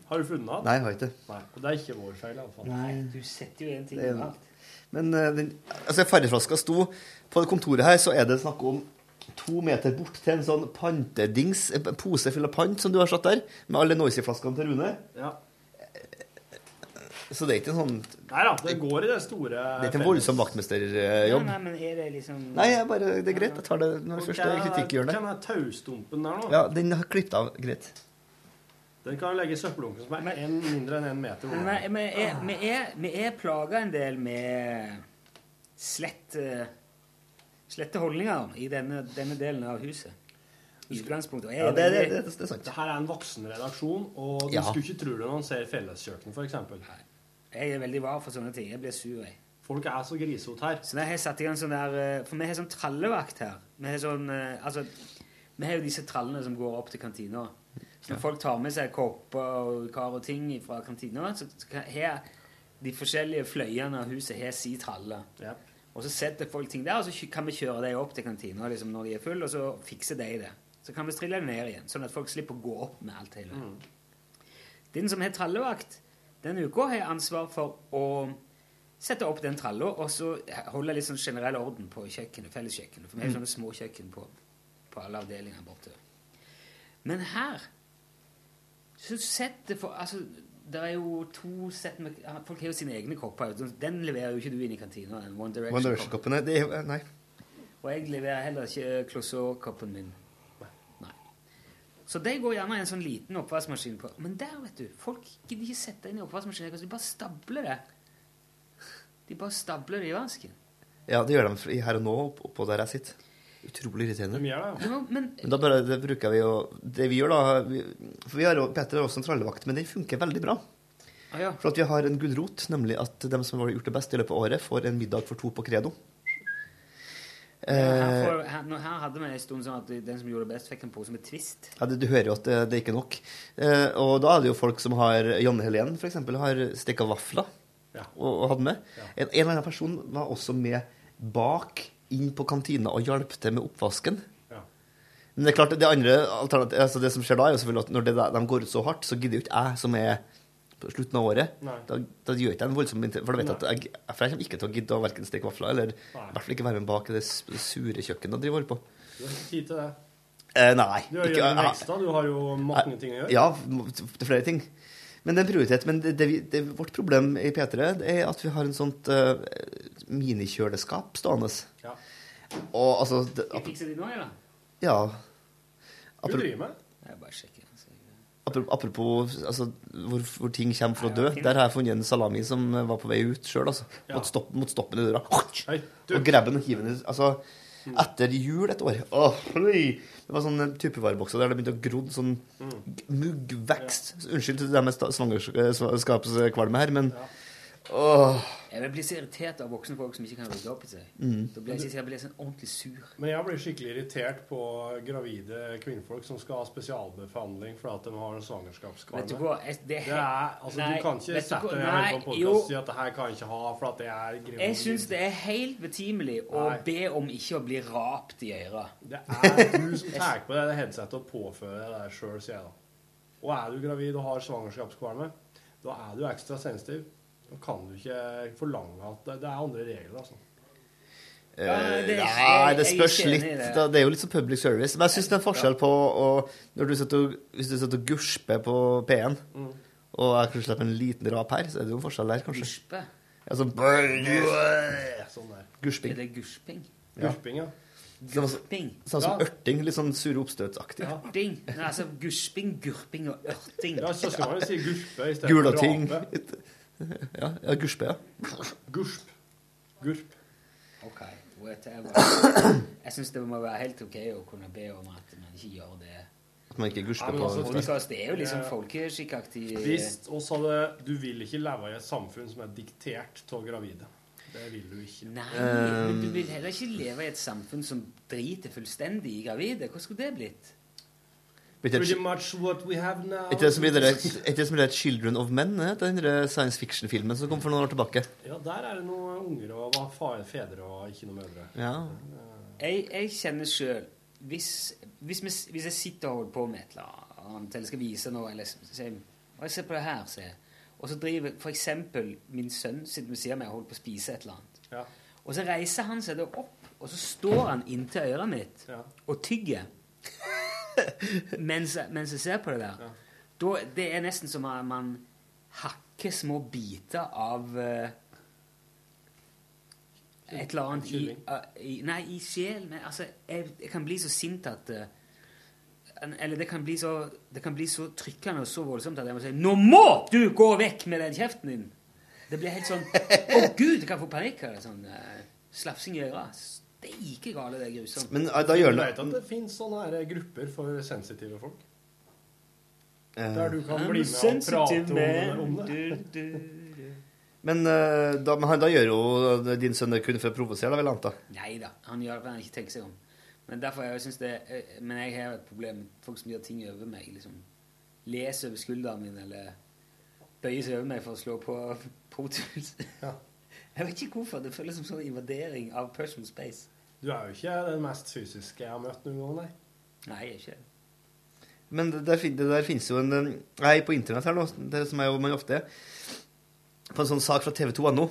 Har du funnet den? Nei, jeg har ikke det. Nei, og det er ikke vår feil, iallfall. Nei, du setter jo en ting Det er i det. alt. Men eh, den, altså, fargeflaska sto På det kontoret her så er det snakk om to meter bort til en sånn pantedings, en pose full av pant som du har satt der, med alle Noisy-flaskene til Rune. Ja. Så det er ikke en sånn Det Nei da, det går i det store er ikke en voldsom vaktmesterjobb. Nei, nei, men er det liksom Nei, jeg bare, det er greit. eh, Jeg tar det når det første Hvem kritikkhjørnet. er taustumpen der nå? Ja, den har klippet av. Greit. Den kan legge i søppeldunken som er en, mindre enn en meter. over. Nei, vi er, vi er, vi er plaga en del med slett eh, slette holdninger i denne, denne delen av huset. I utgangspunktet. Og jeg Ja, er det- det- veldig- det- det er sant. Det her er en voksen redaksjon, og du Ja. skulle ikke tro det når man ser Felleskjøkkenet, f.eks. Jeg er veldig var for sånne ting. Jeg blir sur, jeg. Folk er så grisete her. Så når jeg har satt i gang sånn der eh, For vi har sånn trallevakt her. Vi har sånn eh, Altså Vi har jo disse trallene som går opp til kantina. Så når folk tar med seg kopper og kar og ting fra kantina, så så kan- har de forskjellige fløyene av huset har si tralle. Og så setter folk ting der, og så kjø- kan vi kjøre dem opp til kantina liksom, når de er full, og så fikser de det. Så kan vi strille dem ned igjen, sånn at folk slipper å gå opp med alt hele veien. Den som har trallevakt, denne uka har jeg ansvar for å sette opp den tralla og så holde litt sånn generell orden på kjøkkenet, felleskjøkkenet. For vi har Mm. sånne små kjøkken på, på alle avdelingene borte. Men her så setter for, altså, Det er jo to sett med Folk har jo sine egne kopper. Den leverer jo ikke du inn i kantina. den One One Direction-koppen er det er- Nei. og jeg leverer heller ikke klossekoppen min. eh, Nei. Så de går gjerne i en sånn liten oppvaskmaskin på. Men der, vet du, folk gidder ikke sette inn i oppvaskmaskinen. De bare stabler det. De bare stabler det i vasken. Ja, det gjør de fri- her og nå opp- oppå der jeg sitter. Utrolig irriterende. Jo, men Men da bare, det bruker vi jo Det vi gjør, da vi, For vi har jo Petter har også en trallevakt, men den funker veldig bra. Å ja. For at vi har en gulrot, nemlig at de som har gjort det best i løpet av året, får en middag for to på Credo. her, Eh, får, her, nå- her hadde vi en stund sånn at den som gjorde det best, fikk en pose med Twist. ja, det, du hører jo at det, det er ikke nok. Eh, og da er det jo folk som har Janne Helen, f.eks., har steka vafler Ja. og, og hadde med. En, en eller annen person var også med bak inn på kantina og hjalp til med oppvasken. Men det er klart, det andre alternat- altså det som skjer da, er jo selvfølgelig at når det, der- de går ut så hardt, så gidder jo ikke jeg, som er på slutten av året Nei. da, da gjør ikke jeg en voldsom inter- For da vet jeg at jeg, for jeg kommer ikke til å gidde å verken steke vafler eller Nei. i hvert fall ikke være med bak i det s- sure kjøkkenet jeg driver på. Du har ikke tid til det. Eh, nei. Du gjør ikke- jo en jeg- ekstra. Du har jo mange ting å gjøre. ja, det er flere ting. Men det er en prioritet. Men det, det, vi- det, vårt problem i P3 det er at vi har en sånt eh, minikjøleskap stående. Ja. Og altså det, Skal jeg fikse de nå, eller? Ja. Du Apro- driver med? Jeg bare sjekker. apro- Apropos altså, hvor, hvor ting kommer for å dø. Ja, fin. Der har jeg funnet en salami som var på vei ut sjøl, altså. Ja. Mot, stopp, mot stoppen i døra. Hei, du. Og grabben og hiven Altså, etter jul et år Åh, oi. Det var sånn tupevarebokser der det begynte å grodd sånn g- muggvekst. Så Unnskyld til det med sta- svangersk- eh, svangerskapskvalme her, men åh. Jeg blir så irritert av voksne folk som ikke kan rydde opp i seg. Mm. Da blir jeg, jeg blir sånn ordentlig sur. Men jeg blir skikkelig irritert på gravide kvinnfolk som skal ha spesialbehandling fordi at de har en svangerskapskvalme. Vet du hva, jeg- det er- er, altså, Nei, du kan ikke vet du sette hva, deg her på en nei, podcast jo. og si at det her kan jeg ikke ha for at det er gravid. Jeg syns det er helt betimelig å Nei. be om ikke å bli rapt i øra. Det er du som tar på deg det headsetet og påfører deg det sjøl, sier jeg da. Og er du gravid og har svangerskapskvalme, da er du ekstra sensitiv. Da kan du ikke forlange at Det, det er andre regler, altså. Eh, Ja, det er- Nei, det jeg- jeg spørs er ikke litt. enig i det. Da, det er jo litt som public service. Men jeg syns det er en forskjell på å, når du sitter og, Hvis du sitter og gusper på P1, Mm. og jeg kan slippe en liten rap her, så er det jo en forskjell der, kanskje. Guspe? Ja, sånn Sånn der. Gusping. Er det gusping? Ja. Gusping, ja. Samme som- Gusping. Samme som Ja. ørting. Litt sånn sure oppstøtsaktig. Gusping? Nei, altså gusping, gurping og ørting. Ja, så skal man jo si guspe i stedet for Gulating. rape. Ja, ja, guspe, ja. Gusp. Gurp. Ok, whatever. Jeg syns det må være helt ok å kunne be om at man ikke gjør det. At man ikke gusper Ja, men på altså, Podcast det er jo liksom Ja. folkeskikkaktig Hvis oss hadde Du vil ikke leve i et samfunn som er diktert av gravide. Det vil du ikke. Nei, men du Eh. vil heller ikke leve i et samfunn som driter fullstendig i gravide. Hva skulle det blitt? Vet du- Pretty much what we have now. Er ikke det som blir det er ikke det som blir det 'Children of Men'? eh, Den der science fiction-filmen som kom for noen år tilbake. Ja, der er det noen unger og hva fa- fedre og ikke noe mødre. Ja. Jeg, jeg kjenner sjøl hvis, hvis, vi s- hvis jeg sitter og holder på med et eller annet, eller skal vise noe, eller s- sier «Å, Se på det her, sier jeg. Og så driver f.eks. min sønn sitter ved siden av meg og holder på å spise et eller annet. Ja. Og så reiser han seg da opp, og så står han inntil øret mitt og tygger mens, jeg- mens jeg ser på det der. Da, det er nesten som at man hakker små biter av eh, et eller annet i, øh, i Nei, i sjel men, altså, jeg, jeg kan bli så sint at eh, en- Eller det kan bli så Det kan bli så trykkende og så voldsomt at jeg må si Nå må du gå vekk med den kjeften din! Det blir helt sånn Å, gud, jeg kan få panikk av det. Sånn eh, slafsing i øra. Steike gale, det er grusomt. Men, eh, da gjør Du det- vet at det finnes sånne her grupper for sensitive folk. Eh, Der du kan I'm bli med og prate om, sensitive man. om det. Du, du. Men eh, da, men han- da gjør jo din sønn det kun for å provosere, da, vil jeg anta. Nei da, han gjør det fordi han ikke tenker seg om. Men derfor jeg synes det eh, Men jeg har et problem med folk som gjør ting over meg. liksom Leser over skulderen min, eller bøyer seg over meg for å slå på Protus. Jeg vet ikke hvorfor. Det føles som sånn invadering av personal space. Du er jo ikke den mest fysiske jeg har møtt noen gang, nei. Nei, jeg er ikke det. Men det der, fin- det der finnes jo en en- Nei, på internett her nå, det som er jo man ofte er På en sånn sak fra TV2.no.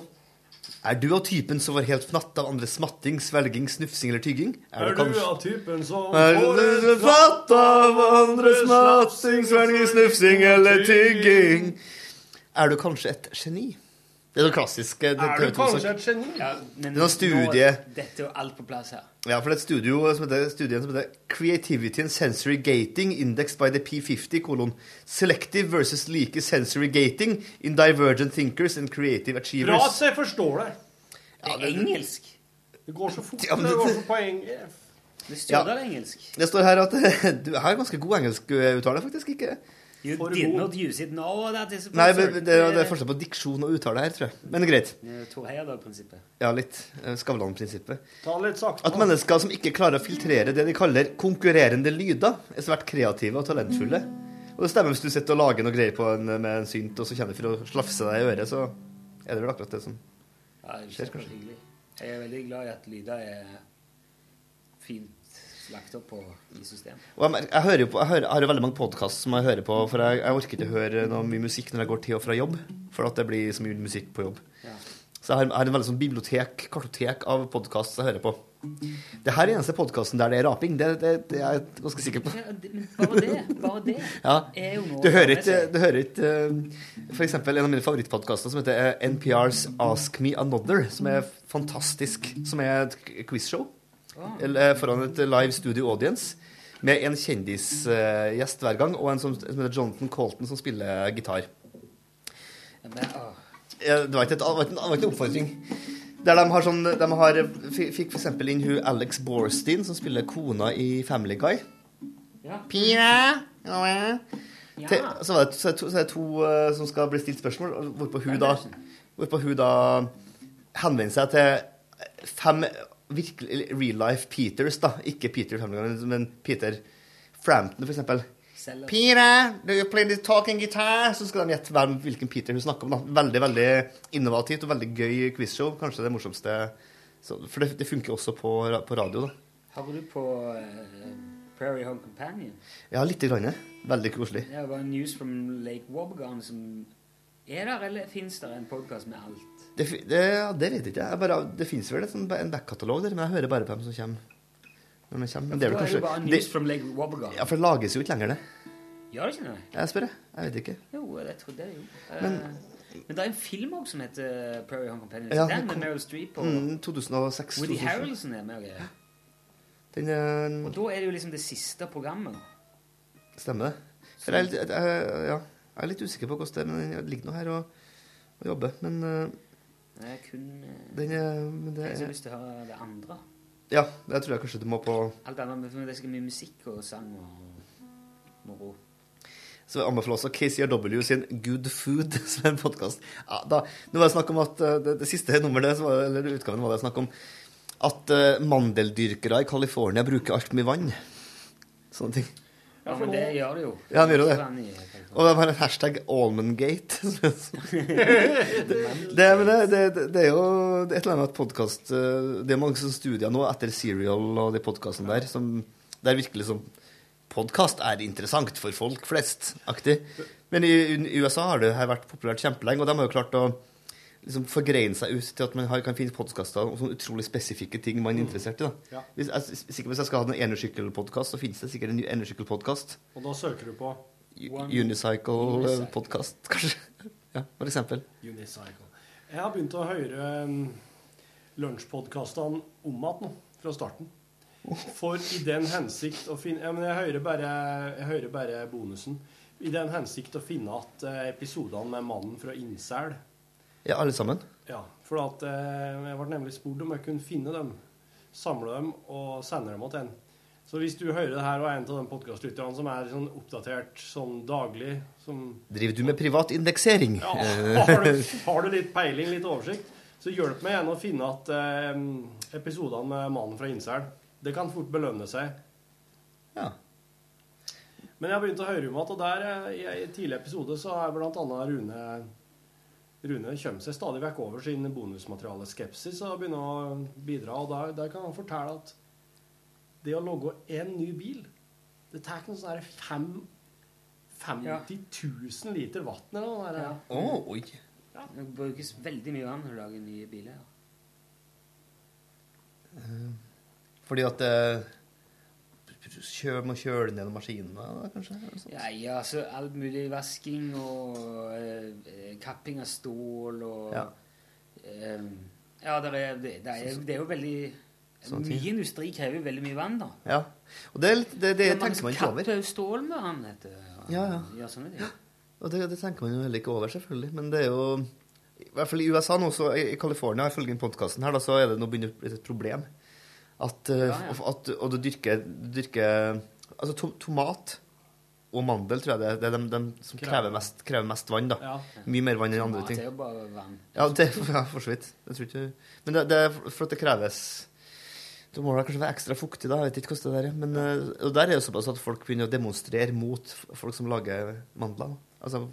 Er du av typen som var helt fnatt av andres smatting, svelging, snufsing eller tygging? Er, det du kanskje- av typen som Er får du en fnatt av andres smatting, svelging, snufsing eller tygging? Er du kanskje et geni? Det er sånn klassisk eh, det- Er du TV2 -sak. kanskje et geni? Ja, Det er noe studie. Nå, dette er jo alt på plass her. Ja, for det er et studio som heter, studien som heter Creativity and Sensory Gating Indexed by the P50 kolon Selective versus like sensory gating in divergent thinkers and creative Bra at achievers. jeg forstår det. Det er engelsk. Det går så fort. det går så på engelsk. Det står der engelsk. Det står her at du har ganske god engelskuttale, faktisk. ikke? You Did not use it. No, that is a Nei, men concern. det er, det er forskjell på diksjon og uttale her, tror jeg. Men greit. Eh, To Heyerdahl-prinsippet. Ja, litt. eh, Skavlan-prinsippet. Ta litt sakte. At mennesker som ikke klarer å filtrere det de kaller konkurrerende lyder, er svært kreative og talentfulle. Og det stemmer hvis du sitter og lager noe greier på en, med en synt, og så kjenner du for å slafse deg i øret, så er det vel akkurat det som Ja, det skjer, er kanskje. hyggelig. Jeg er veldig glad i at lyder er fint lagt opp på, i system. Og jeg, mer- jeg, hører jo på, jeg, hører, jeg har jo veldig mange podkaster som jeg hører på, for jeg, jeg orker ikke høre noe mye musikk når jeg går til og fra jobb, for at det blir så mye musikk på jobb. Ja. Så jeg har, jeg har en veldig sånn bibliotek, kartotek av podkast jeg hører på. Det her er eneste podkasten der det er raping, det, det, det er jeg ganske sikker på. Ja, det- men bare det, bare det Ja. er jo noe Du å ta hører med ikke, seg. du hører ikke eh, For eksempel en av mine favorittpodkaster som heter eh, NPRs Ask Me Another, som er fantastisk. Som er et k- quizshow Ah. eller, eh, foran et live studio audience med en kjendisgjest hver gang, og en som, som heter Jonathan Colton, som spiller gitar. Men, ah, åh. Eh, Det var ikke, et, det var ikke, en- det var ikke en oppfordring. Der de har sånn De har, f- fikk f.eks. inn hun Alex Borstein, som spiller kona i Family Guy. Pina! Ja. Te, så, var det, så, er det to, så er det to eh, som skal bli stilt spørsmål, og hvorpå hun da, hvorpå hun da henvender seg til fem virkelig, eller real life Peters, da. Ikke Peter Family Guy, men Peter Frampton, for eksempel. Selv- Peter, do you play the talking guitar? Så skal de gjette hvem, hvilken Peter hun snakker om. da. Veldig veldig innovativt og veldig gøy quizshow. Kanskje det morsomste. Så, for det, det funker også på, ra- på radio, da. Hører du på eh, Prairie Home Companion? Ja, lite grann. ja. Veldig koselig. Det var News from Lake Wobbegarn som Er der, eller fins der en podkast med alt? Det, fi- det, ja, det vet jeg ikke. Jeg bare, det fins vel et sånn, ba- en backkatalog der, men jeg hører bare på dem som kommer. Når de kommer. Men det er Da vel jo bare kanskje News det, from Lake Wobbegarn. Ja, for det lages jo ikke lenger, det. Gjør det ikke det? Jeg spør, jeg. Jeg vet ikke. Jo, jeg trodde det, jo. Eh, Men- men det er en film også som heter eh, Prairie Home Companion. Ja, den det med kom- Meryl Streep og Mm, 2006. Woody 2007. Harrelson er med. og greier. Den eh, Og da er det jo liksom det siste programmet. Stemmer det. For jeg, er litt- jeg, jeg- ja, jeg er litt usikker på hvordan det er, men jeg ligger nå her og, og jobber. Men eh, Det er kun eh, den er men det Jeg har så er, lyst til å høre det andre. Ja, det tror jeg kanskje du må på Alt annet, men Det er sikkert mye musikk og sang og moro. Så jeg anbefaler også KCRW sin Good Food, som er en podkast. Ja, da- nå var det snakk om at eh, det, det siste nummeret, så var, det- eller utgaven, var det snakk om at eh, mandeldyrkere i California bruker altfor mye vann. Sånne ting. Ja, men det gjør det jo. Ja, han gjør jo Vann det. i- Og de har en hashtag Almondgate. det, det, men det, det, det er jo et eller annet med at podkast Det er mange sånne studier nå etter Serial og de podkastene der som det er virkelig sånn Podkast er interessant for folk flest-aktig. Men i, i USA har det her vært populært kjempelenge, og de har jo klart å liksom forgreine seg ut til at man har, kan finne podkaster om sånne utrolig spesifikke ting man er interessert i. Ja. da. Hvis, jeg, er sikker på hvis jeg skal ha en enersykkelpodkast, så finnes det sikkert en enersykkelpodkast. Og da søker du på eh, Unicycle. Unicycle-podkast, kanskje. Ja, for eksempel. Unicycle. Jeg har begynt å høre um, lunsjpodkastene om igjen nå, fra starten. For i den hensikt å finne ja, men jeg, hører bare, jeg hører bare bonusen. I den hensikt å finne at eh, episodene med mannen fra Innsel Ja, alle sammen. Ja, for at, eh, jeg ble nemlig spurt om jeg kunne finne dem, samle dem og sende dem til en. Så hvis du hører det her og er en av de podkastlytterne som er sånn oppdatert sånn daglig som Driver du med privat indeksering? ja, har, du, har du litt peiling, litt oversikt, så hjelp meg gjerne å finne at eh, episodene med mannen fra Innsel Det kan fort belønne seg. Ja. Men jeg har begynt å høre om at og der, eh, i en tidlig episode så er blant annet Rune Rune kommer seg stadig vekk over sin bonusmateriale skepsis og begynner å bidra. Og der, der kan han fortelle at det å logge én ny bil Det tar noe sånn her fem- 50 000 liter vann eller noe der. oi. Det brukes veldig mye vann når du lager nye biler. Fordi at eh, kjø, må kjøle ned maskinen, da, kanskje? eller sånt. Ja, ja, så alt mulig vasking og eh, kapping av eh, stål og Ja. Ehm, ja, det er, det, det, er, det er jo veldig Sånn tid. Mye industri krever jo veldig mye vann, da. Ja. Og det, er litt- det, det Men tenker man ikke over. kapper jo stål med vann, heter det. Ja, ja. Ja, sånn er det. Og det, det tenker man jo heller ikke over, selvfølgelig. Men det er jo I hvert fall i USA nå, så i i California, ifølge podkasten her, da, så er det nå begynner å bli et problem. At, eh, Ja, ja. f- at Og du dyrker, du dyrker Altså to, tomat og mandel, tror jeg det er, det er de, de som Krever. krever mest, krever mest vann, da. Ja. Mye mer vann enn andre Tomat ting. er jo bare vann. Ja, det, ja for så vidt. Jeg tror ikke Men det, det er for at det kreves Da må det kanskje være ekstra fuktig, da. Jeg vet ikke hvordan det der er. Men eh, og der er det såpass at folk begynner å demonstrere mot f- folk som lager mandler. da. Altså,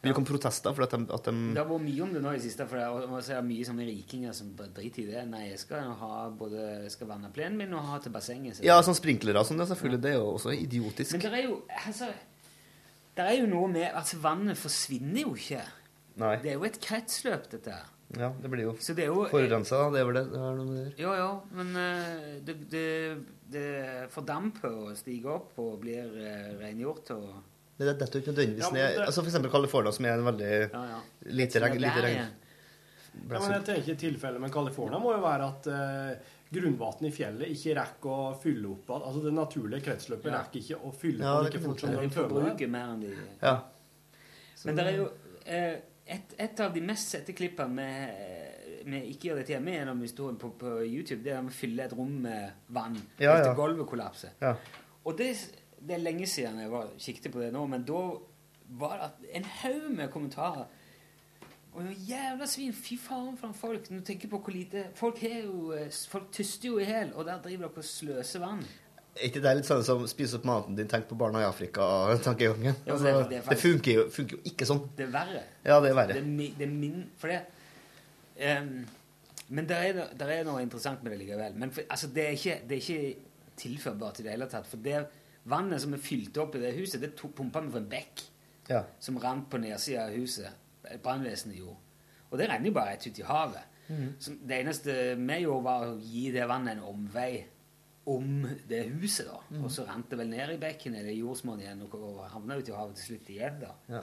det vil jo komme protester for at de, at de Det har vært mye om det nå i det siste, for det er, og så er det mye sånne rikinger som bare driter i det. Nei, jeg skal ha både jeg skal vanne plenen min og ha til bassenget. så- Ja, sånn sprinklere og sånn, ja, selvfølgelig. Det er jo også idiotisk. Men det er jo altså, Det er jo noe med Altså, vannet forsvinner jo ikke. Nei. Det er jo et kretsløp, dette her. Ja, det blir jo, Så det er jo- forurensa, da. Det er vel det. det er noe med det. å gjøre. Jo, jo, men eh, det, det, det fordamper og stiger opp og blir eh, rengjort og Men det detter jo ikke nødvendigvis Ja, men ned det- Altså for eksempel California, som er en veldig lite regn. Lite regn. Ja, men jeg tenker Tilfellet med California må jo være at eh, grunnvannet i fjellet ikke rekker å fylle opp alt. Altså Det naturlige kretsløpet Ja. rekker ikke å fylle Ja, opp det like kan fort godt som være. de De tømmer forbruker mer enn de Ja. Men det er jo eh, et, et av de mest sette klippene med, med Ikke gjør dette hjemme er når vi står på, på YouTube. Det er om å fylle et rom med vann Ja, helt ja. til gulvet kollapser. Ja. Og det, det er lenge siden jeg var, kikket på det nå, men da var det at- en haug med kommentarer. Og jo, jævla svin! Fy faen for en folk! Når du tenker på hvor lite Folk, har jo, eh, folk tyster jo i hjel, og der driver dere og sløser vann. Er ikke det litt sånn som spise opp maten din, tenk på barna i Afrika-tankegangen? Ja, Altså, det er- det det, er faktisk- funker, jo, funker jo ikke sånn. Det er verre. Ja, det er verre. Det er, mi, det er min For det ehm, Men der er, det- der er noe interessant med det likevel. Men for, altså, det, er ikke, det er ikke tilførbart i det hele tatt. For det vannet som er fylt opp i det huset, det to- pumpa vi fra en bekk Ja. som rant på nedsida av huset. eh, Brannvesenet gjorde. Og det renner jo bare rett ut i havet. Mhm. Så det eneste vi gjorde, var å gi det vannet en omvei om det huset, da. Mhm. Og så rant det vel ned i bekken eller i jordsmonnet igjen og- og havna ut i havet til slutt igjen, da. Ja.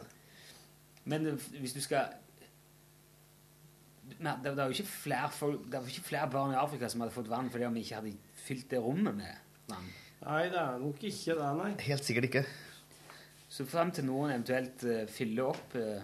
Men eh, hvis du skal Nei, det, det er jo ikke flere, folk, det er jo ikke flere barn i Afrika som hadde fått vann fordi om vi ikke hadde fylt det rommet med vann. Nei, det er nok ikke det, nei. Helt sikkert ikke. Så frem til noen eventuelt eh, fyller opp eh,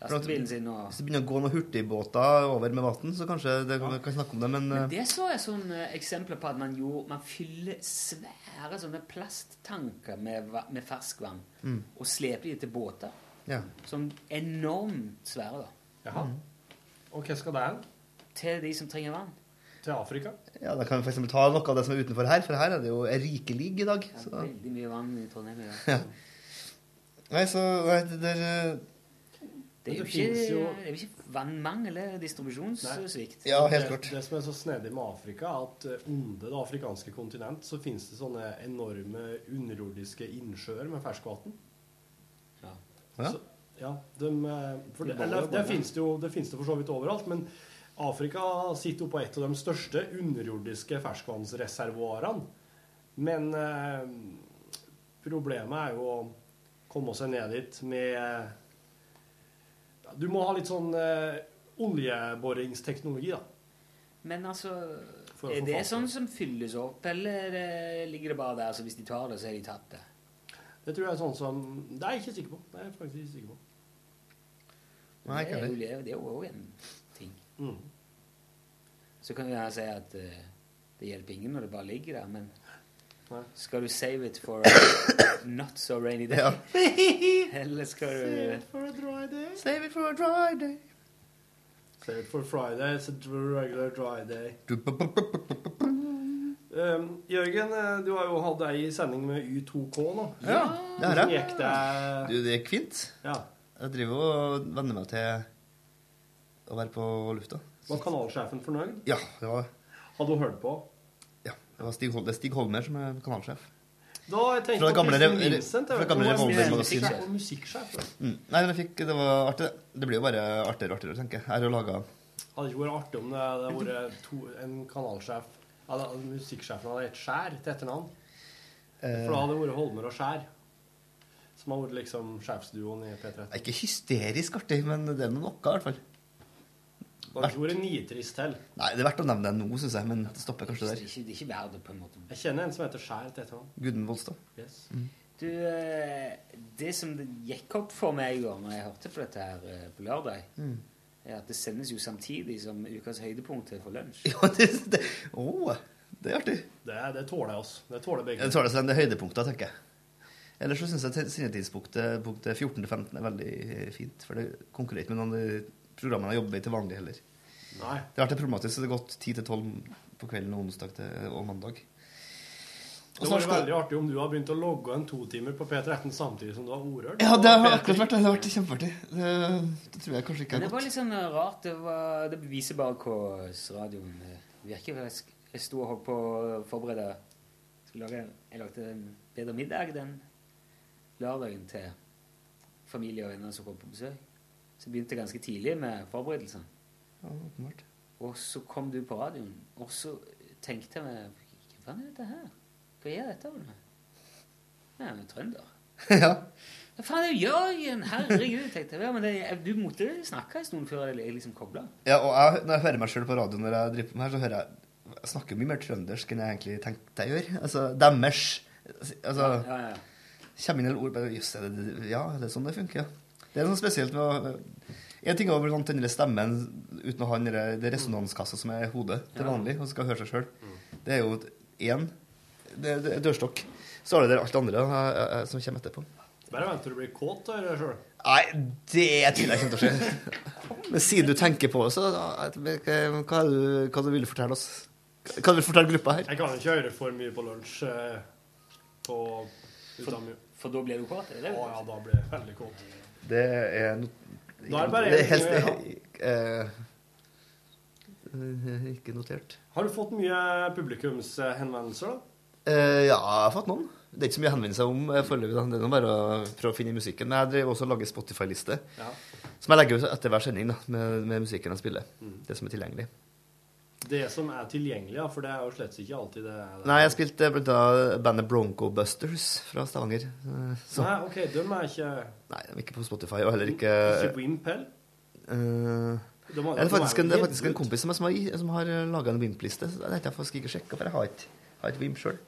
lastebilen sin og Hvis det begynner å gå noen hurtigbåter over med vann, så kanskje det, vi kan snakke om det, men, Men eh, det så jeg sånne eksempler på at man gjorde Man fyller svære sånne plasttanker med, va- med ferskvann Mm. og sleper de til båter. Ja. Som enormt svære, da. Og hva skal det hen? Til de som trenger vann. Til Afrika? ja, da kan vi for eksempel ta noe av det som er utenfor her, for her er det jo rikelig i dag. Det Så, er veldig mye vann i Trondheim. i dag. ja. Nei, så nei, det der eh, Det er jo Men det finnes ikke, jo- det er jo ikke vannmangel, det er distribusjonssvikt. det, Det som er så snedig med Afrika, er at eh, under det afrikanske kontinent så finnes det sånne enorme underjordiske innsjøer med ferskvann. Ja. Ja. Så, ja de, eh, for det, De baller eller, det, og baller. finnes det, jo, det finnes det for så vidt overalt, men Afrika sitter jo på et av de største underjordiske ferskvannsreservoarene. Men eh, problemet er jo å komme seg ned dit med ja, Du må ha litt sånn eh, oljeboringsteknologi, da. Men altså For å Er få det fart på sånn som fylles opp, eller eh, ligger det bare der, så hvis de tar det, så er de tatt det? Det tror jeg er sånn som Det er jeg ikke sikker på. Det er jeg faktisk ikke sikker på. Nei, det, ikke er jo, heller. le- det er jo også en ting. Mm. Så kan vi her si at eh, det hjelper ingen når det bare ligger der, men Nei. skal du save it for a not so rainy day? Ja. eller skal Save du it for a dry day. Save it for a dry day. Save it for Friday. It's a dr- regular dry day. Um, Jørgen, eh, du har jo hatt ei sending med Y2K nå. Eh, Ja, det har Hvordan jeg. gikk det? Du, det gikk fint. Jeg driver jo og venner meg til å være på lufta. Var kanalsjefen fornøyd? Ja, det var det. Hadde hun hørt på? Det var Stig, Hol det er Stig Holmer som er kanalsjef. Da har jeg tenkt Fra på gamle Kristin rev- eller- Vincent. fra jeg vet ikke om gamle hun er Revolver-magasin. musikksjef. Og musikksjef. ja. Mm. Nei, men jeg fikk, det var artig, det. Det blir jo bare artigere og artigere, tenker jeg. Jeg har jo laga Hadde ikke vært artig om det hadde vært to, en kanalsjef ja, da- Musikksjefen hadde hett Skjær til etternavn. For da hadde det vært Holmer og Skjær. Som har vært liksom sjefsduoen i P13. Ikke hysterisk artig, men det er noe, i hvert fall. Kanskje vært nitrist til. Nei, det er verdt å nevne det nå, syns jeg, men det stopper kanskje Det der. er ikke, det er ikke verdt det, på en måte. Jeg kjenner en som heter Skjær til etternavn. Gudmund Volstad. Yes. Du, eh, det som det gikk opp for meg i går når jeg hørte på dette her eh, på lørdag, Mm. er at det sendes jo samtidig som ukas høydepunkt er for lunsj. Å, det er artig. Det, det tåler oss. Det tåler begge. Jeg tar det som det høydepunktet, tenker jeg. Ellers så syns jeg te- sendetidspunktet punktet 14 til 15 er veldig eh, fint. For det konkurrerer ikke med noen av de programmene jeg jobber i til vanlig heller. Nei. Det har vært problematisk, så det har gått 10 til 12 på kvelden og onsdag til, og mandag. Og Det snart var skal- veldig artig om du har begynt å logge en totimer på P13 samtidig som du har ordrørt. Ja, det har P3. akkurat vært det. Det har vært kjempeartig. Det, det tror jeg kanskje ikke Men det har var gått. litt sånn eh, rart. Det, var, det viser bare hvordan radioen eh, virker. Jeg sk- Jeg sto og holdt på å forberede skulle lage, Jeg lagde en bedre middag den lørdagen til familie og venner som kom på besøk. Så jeg begynte ganske tidlig med forberedelsene. Ja, åpenbart. Og så kom du på radioen, og så tenkte jeg meg Hva faen er dette her? Hva er dette? for noe? Jeg er jo trønder. ja. Hva faen er det Jørgen? Herregud, tenkte jeg. Ja, men det, du måtte snakke en stund før jeg liksom kobla. ja, og jeg, når jeg hører meg sjøl på radioen når jeg driver på med her, så hører jeg Jeg snakker mye mer trøndersk enn jeg egentlig tenkte jeg gjør. Altså demmers Altså Ja, ja, ja. Kommer inn en del ord bare, Jøss, er det Ja, er det sånn det funker? ja?» Det er noe spesielt med å En ting er over sånn, den der stemmen uten å ha den der- det resonanskassa som er i hodet til Ja. vanlig, og skal høre seg sjøl. Det er jo én det, det er dørstokk. Så har du det der alt det andre eh, eh, som kommer etterpå. Bare vent til du blir kåt av det sjøl. Nei, det tviler jeg kommer til å skje. Men siden du tenker på det, så da, jeg vet ikke, hva, er det- hva er det du vil fortelle oss? Hva vil du fortelle gruppa her? Jeg kan ikke høre for mye på lunsj. eh, På for, for da blir du kåt? Å ja, da blir jeg veldig kåt. Det er no- Da er det bare det er en helt, ting å eh, eh, Ikke notert. Har du fått mye publikumshenvendelser, da? Eh, ja, jeg har fått noen. Det er ikke så mye å henvende seg om eh, foreløpig. da. Det er nå bare å prøve å finne musikken. Men jeg driver også og lager Spotify-liste, Ja. som jeg legger ut etter hver sending da, med, med musikken jeg spiller. Mm. Det som er tilgjengelig. Det som er tilgjengelig, ja, for det er jo slett ikke alltid det er det. Nei, jeg spilte eh, blant annet bandet Bronco Busters fra Stavanger. Eh, Så Nei, OK, dem er ikke Nei, de er ikke på Spotify, og heller ikke Ikke Wimpel? Eh, De har- det, er faktisk en, det er de har faktisk en kompis som, er- som har, som har laga en Wimp-liste. så Det er jeg faktisk ikke sjekka, for jeg har ikke, har ikke Wimp sjøl.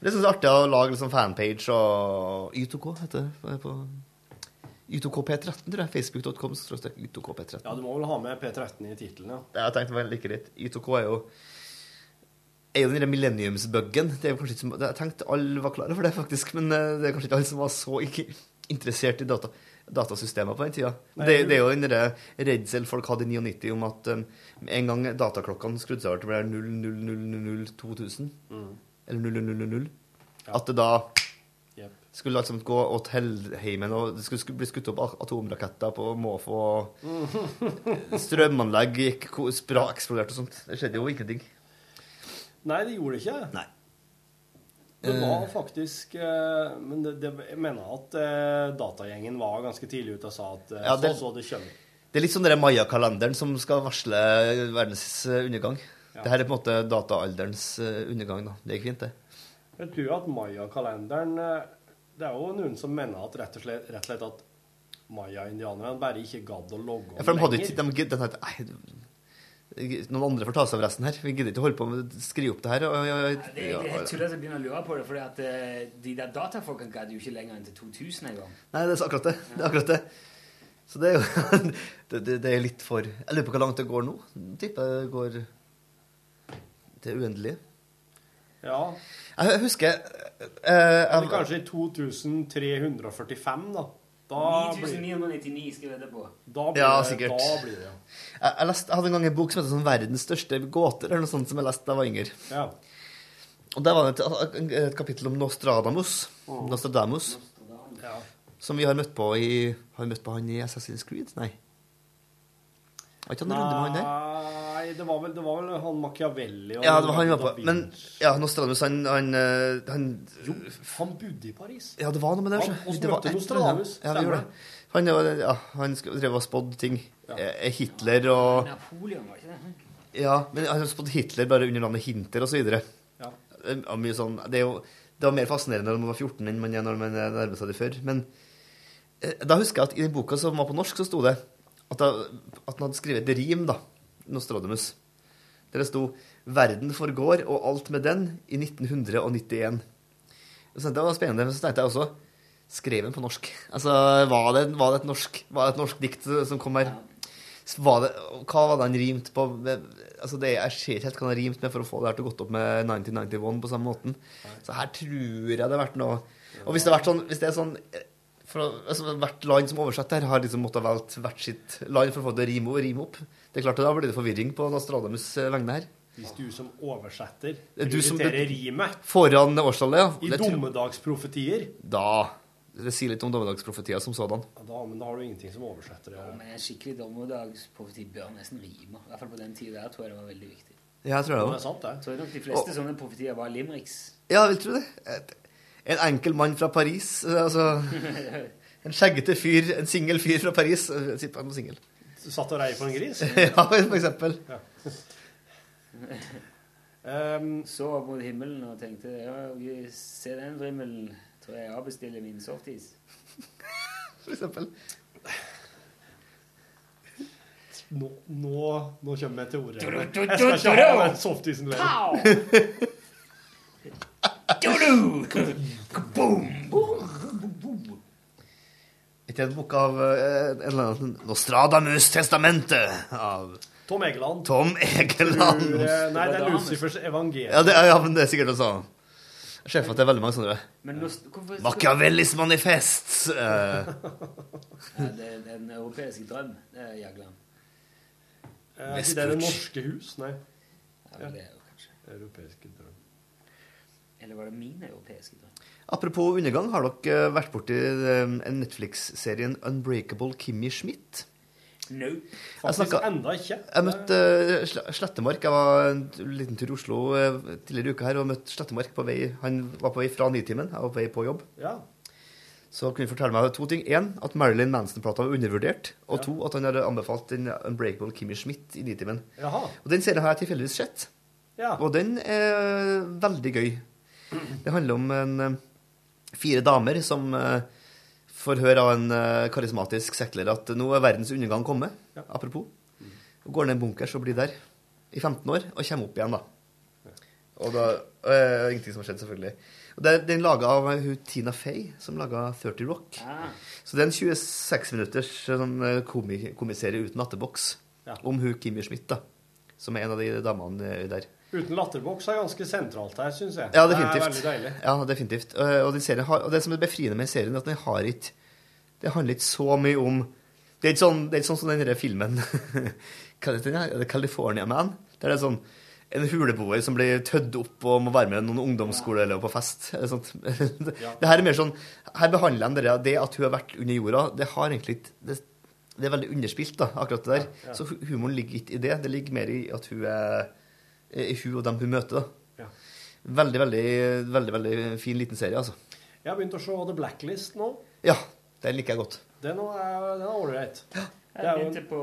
Men det syns jeg er artig å lage liksom fanpage og Y2K heter det på Y2KP13, tror jeg. Facebook.com Y2KP13. Ja, du må vel ha med P13 i tittelen, ja. Det har jeg tenkt var like greit. Y2K er jo er jo den der millenniumsbuggen. Det er jo kanskje ikke som, det- Jeg tenkte alle var klar over det, faktisk, men eh, det er kanskje ikke alle som var så ikke interessert i data, datasystemer på den tida. Nei, Det, du- det er jo den derre redsel folk hadde i 99 om at um, en gang dataklokkene skrudde seg over til å bli 0000 Mm. eller 0000, at det da Jep. skulle liksom gå åt hellheimen, og det skulle, skulle bli skutt opp a- atomraketter på måfå og Strømanlegg gikk ko- spra, eksploderte og sånt. Det skjedde jo ingenting. Nei, det gjorde det ikke. Nei. Det var Eh. faktisk eh, Men det, det, jeg mener at eh, datagjengen var ganske tidlig ute og sa at eh, Ja, det- så så det kommer. Det er litt sånn den Maya-kalenderen som skal varsle verdens eh, undergang. Ja. Det her er på en måte dataalderens eh, undergang, da. Det gikk fint, det. Jeg tror at mayakalenderen eh, Det er jo noen som mener at rett og slett, rett og slett at maya-indianerne bare ikke gadd å logge om Ja, for de hadde ikke de, gid- de tenkte, Nei, noen andre får ta seg av resten her. Vi gidder ikke å holde på med å skrive opp det her. Og, og, Det er helt tullete å begynne å lure på det, for de der datafolkene gadd jo ikke lenger enn til 2000 en gang. Nei, det er så akkurat det. Det er akkurat det. Så det er jo det, det, det er litt for Jeg lurer på hvor langt det går nå. Tipper det går til uendelige. Ja, Jeg jeg husker eh, eller jeg, kanskje i 2345, da. Da blir, 9999 skal jeg vedde på. da blir, Ja, det- sikkert. Eh, Da blir det, ja. jeg, jeg, leste, jeg hadde en gang en bok som heter sånn 'Verdens største gåter', eller noe sånt som jeg leste da jeg var yngre. Ja. Og der var det et, et kapittel om Nostradamus, Nostradamus Ja. som vi har møtt på i Har vi møtt på han i Assassin's Creed? Nei. Var ikke han en runde med han der? Nei, det var vel, det var vel han Machiavelli og Ja, det var han vi var Da på. Vinci. Men ja, Nostradamus, han, han, eh, han Jo, han bodde i Paris. Ja, det var noe med det. Han- skjønner du. han Det var møtte et Nostradamus, eller annet. Ja, det stemmer gjorde det. Han, var- ja, han sk- drev og spådde ting. Eh, Hitler og Napoleon, var ikke det? Ja, men han har spådd Hitler bare under navnet Hinter og så videre. Ja. Det er mye sånn, det er jo det var mer fascinerende når man var 14 enn man er når man er- nærmer seg det før. Men eh, da husker jeg at i den boka som var på norsk, så sto det at, da, at han hadde skrevet et rim, da. Nostradamus. Der det sto 'Verden forgår, og alt med den' i 1991. Jeg syntes det var spennende, men så tenkte jeg også Skrev den på norsk? Altså, var det, var det, et, norsk, var det et norsk dikt som kom her? Var det, hva var det han rimte på? Altså, det, jeg ser ikke helt hva han rimte med for å få det her til å gått opp med 1991 på samme måten. Så her tror jeg det har vært noe Og hvis det har vært sånn, hvis det er sånn for, å- altså, Hvert land som oversetter her, har liksom måttet velge hvert sitt land for å få det å rime, og rime opp. Det er klart, Da blir det forvirring på Nostradamus' vegne her. Hvis du som oversetter Det er du som- prioriterer rimet Foran årstallet, ja. i Det tror- dommedagsprofetier Da Det sier litt om dommedagsprofetier som sådan. ja, da, Men da har du ingenting som oversetter det. Men en skikkelig dommedagsprofeti bør nesten rime. I hvert fall på den tida der tror jeg det var veldig viktig. Ja, jeg tror det også. er sant, det. Tror jeg nok de Og- fleste sånne profetier var limericks. Ja, jeg vil tro det. Et, en enkel mann fra Paris, eh, altså En skjeggete fyr, en singel fyr fra Paris. eh, jeg tipper Han var singel. Satt og rei på en gris? ja, for eksempel. så opp mot himmelen og tenkte ja, vi se den vrimmelen. Tror jeg avbestiller min softis. For eksempel. Nå, nå, nå kommer jeg til ordet. Du, du, du, Jeg skal ikke ha du, du. den softisen lenger. Ikke en bok av eh, en eller annen Nostradamus' testamente av Tom Egeland. Tom Egeland. Tror jeg- Nei, det er Lucifers evangelium. Ja, det, er- ja, men det er sikkert det samme. Jeg ser for meg at det er veldig mange sånne. Men nå- hvorfor- Machiavellis manifest. eh. ja, det er den europeiske drøm, det er Jagland. Eh, ikke det er Det norske hus? Nei. Ja, men det er jo kanskje. Europeiske drøm. Eller var det min europeiske drøm? Apropos undergang, har dere vært borti eh, en Netflix-serien Unbreakable Kimmy Schmidt? No. Faktisk enda ikke. Jeg møtte eh, Sle- Slettemark. Jeg var en t- liten tur i Oslo eh, tidligere i uka her og møtte Slettemark på vei Han var på vei fra Nitimen. Jeg var på vei på jobb. Ja. Så kunne han fortelle meg to ting. Én, at Marilyn Manson-plata var undervurdert. Og Ja. to, at han hadde anbefalt den Unbreakable Kimmy Schmidt i Nitimen. Jaha. Og den serien har jeg tilfeldigvis sett. Ja. Og den er veldig gøy. Det handler om en, eh, fire damer som eh, får høre av en eh, karismatisk sekler at nå er verdens undergang kommet. Apropos. Og går ned i en bunkers og blir der i 15 år, og kommer opp igjen, da. Og da eh, Ingenting som har skjedd, selvfølgelig. Og det er, den er laga av eh, hun Tina Fey, som laga 30 Rock. Ah. Så det er en 26 minutters sånn, eh, komi komiserie uten natteboks Ja. om hun Kimmy Schmidt, da. Som er en av de damene eh, der. Uten latterboks er ganske sentralt her, syns jeg. Ja, Det er definitivt. veldig deilig. Ja, definitivt. Eh, Og, den serien har, og det som er befriende med serien, er at den har ikke Det handler ikke så mye om Det er ikke sånn, det er ikke sånn som den der filmen Hva heter den? her? Er det California Man? Der det er sånn en huleboer som blir tødd opp og må være med noen ungdomsskoleelever på fest. eller sånt. Det her er mer sånn Her behandler de det, det at hun har vært under jorda. Det har egentlig ikke det, det er veldig underspilt, da, akkurat det der. Ja, ja. Så hu- humoren ligger ikke i det. Det ligger mer i at hun er i hun og dem hun møter, da. Ja. Veldig, veldig, veldig veldig fin liten serie, altså. Jeg har begynt å se The Blacklist nå. Ja, den liker jeg godt. Den nå er den er ålreit. Det Jeg er jo en begynte på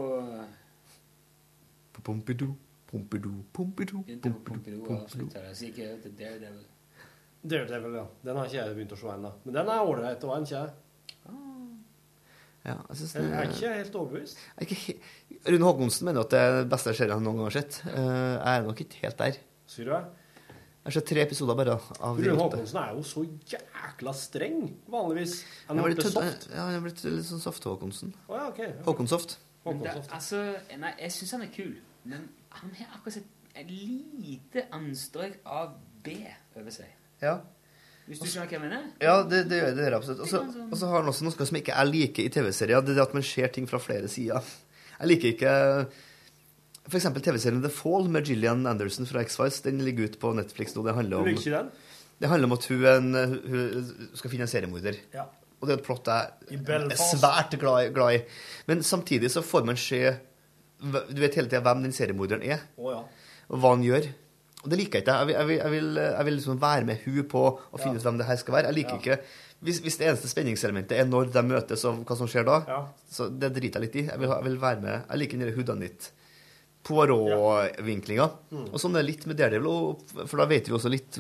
Pompidou, pompidou, pompidou, begynte på pompidou, Pompidou og pompidou. avslutta det. Så gikk jeg over til Daredevil. Daredevil, ja. Den har ikke jeg begynt å se ennå. Men den er ålreit og en kjær. Ja, jeg synes Jeg den Eh. er er, ikke helt overbevist. jeg er ikke he- Rune Håkonsen mener at det er den beste serien han noen gang har sett. Eh, Jeg er nok ikke helt der. Sier du det? Jeg har sett tre episoder bare av de Rune åtte. Håkonsen er jo så jækla streng, vanligvis. Han Han har er blitt blitt tødd- soft. ja, han har blitt litt sånn soft Håkonsen. Å ja, ok. Håkonsoft. Men det, altså, nei, jeg syns han er kul, men han har akkurat sett et lite anstrøk av B over seg. Ja. Hvis du Altså- skjønner hva jeg mener? Ja, det, det gjør det gjør jeg absolutt. Og så- Og så har han også noe som ikke jeg liker i TV-serier. Det er det at man ser ting fra flere sider. Jeg liker ikke for eksempel TV-serien The Fall med Gillian Anderson fra X-Files. Den ligger ute på Netflix nå. Det handler Du om, liker ikke den? det handler om at hun, er en, hun skal finne en seriemorder. Ja. Og det er et plott jeg I er Belfast. svært glad, i- glad i. Men samtidig så får man se hve- Du vet hele tida hvem den seriemorderen er Å ja. og hva han gjør. Og det liker jeg ikke. Jeg vil, jeg vil, jeg vil, jeg vil liksom være med hun på og finne ut hvem det her skal være. Jeg liker ikke hvis, hvis det eneste spenningselementet er når de møtes og hva som skjer da, så det driter jeg litt i. Jeg vil, ha- jeg vil være med. Jeg liker den der Houdanit. Poirot-vinklinga. Mm. Og sånn er det litt med Daredevil, og- for da vet vi også litt,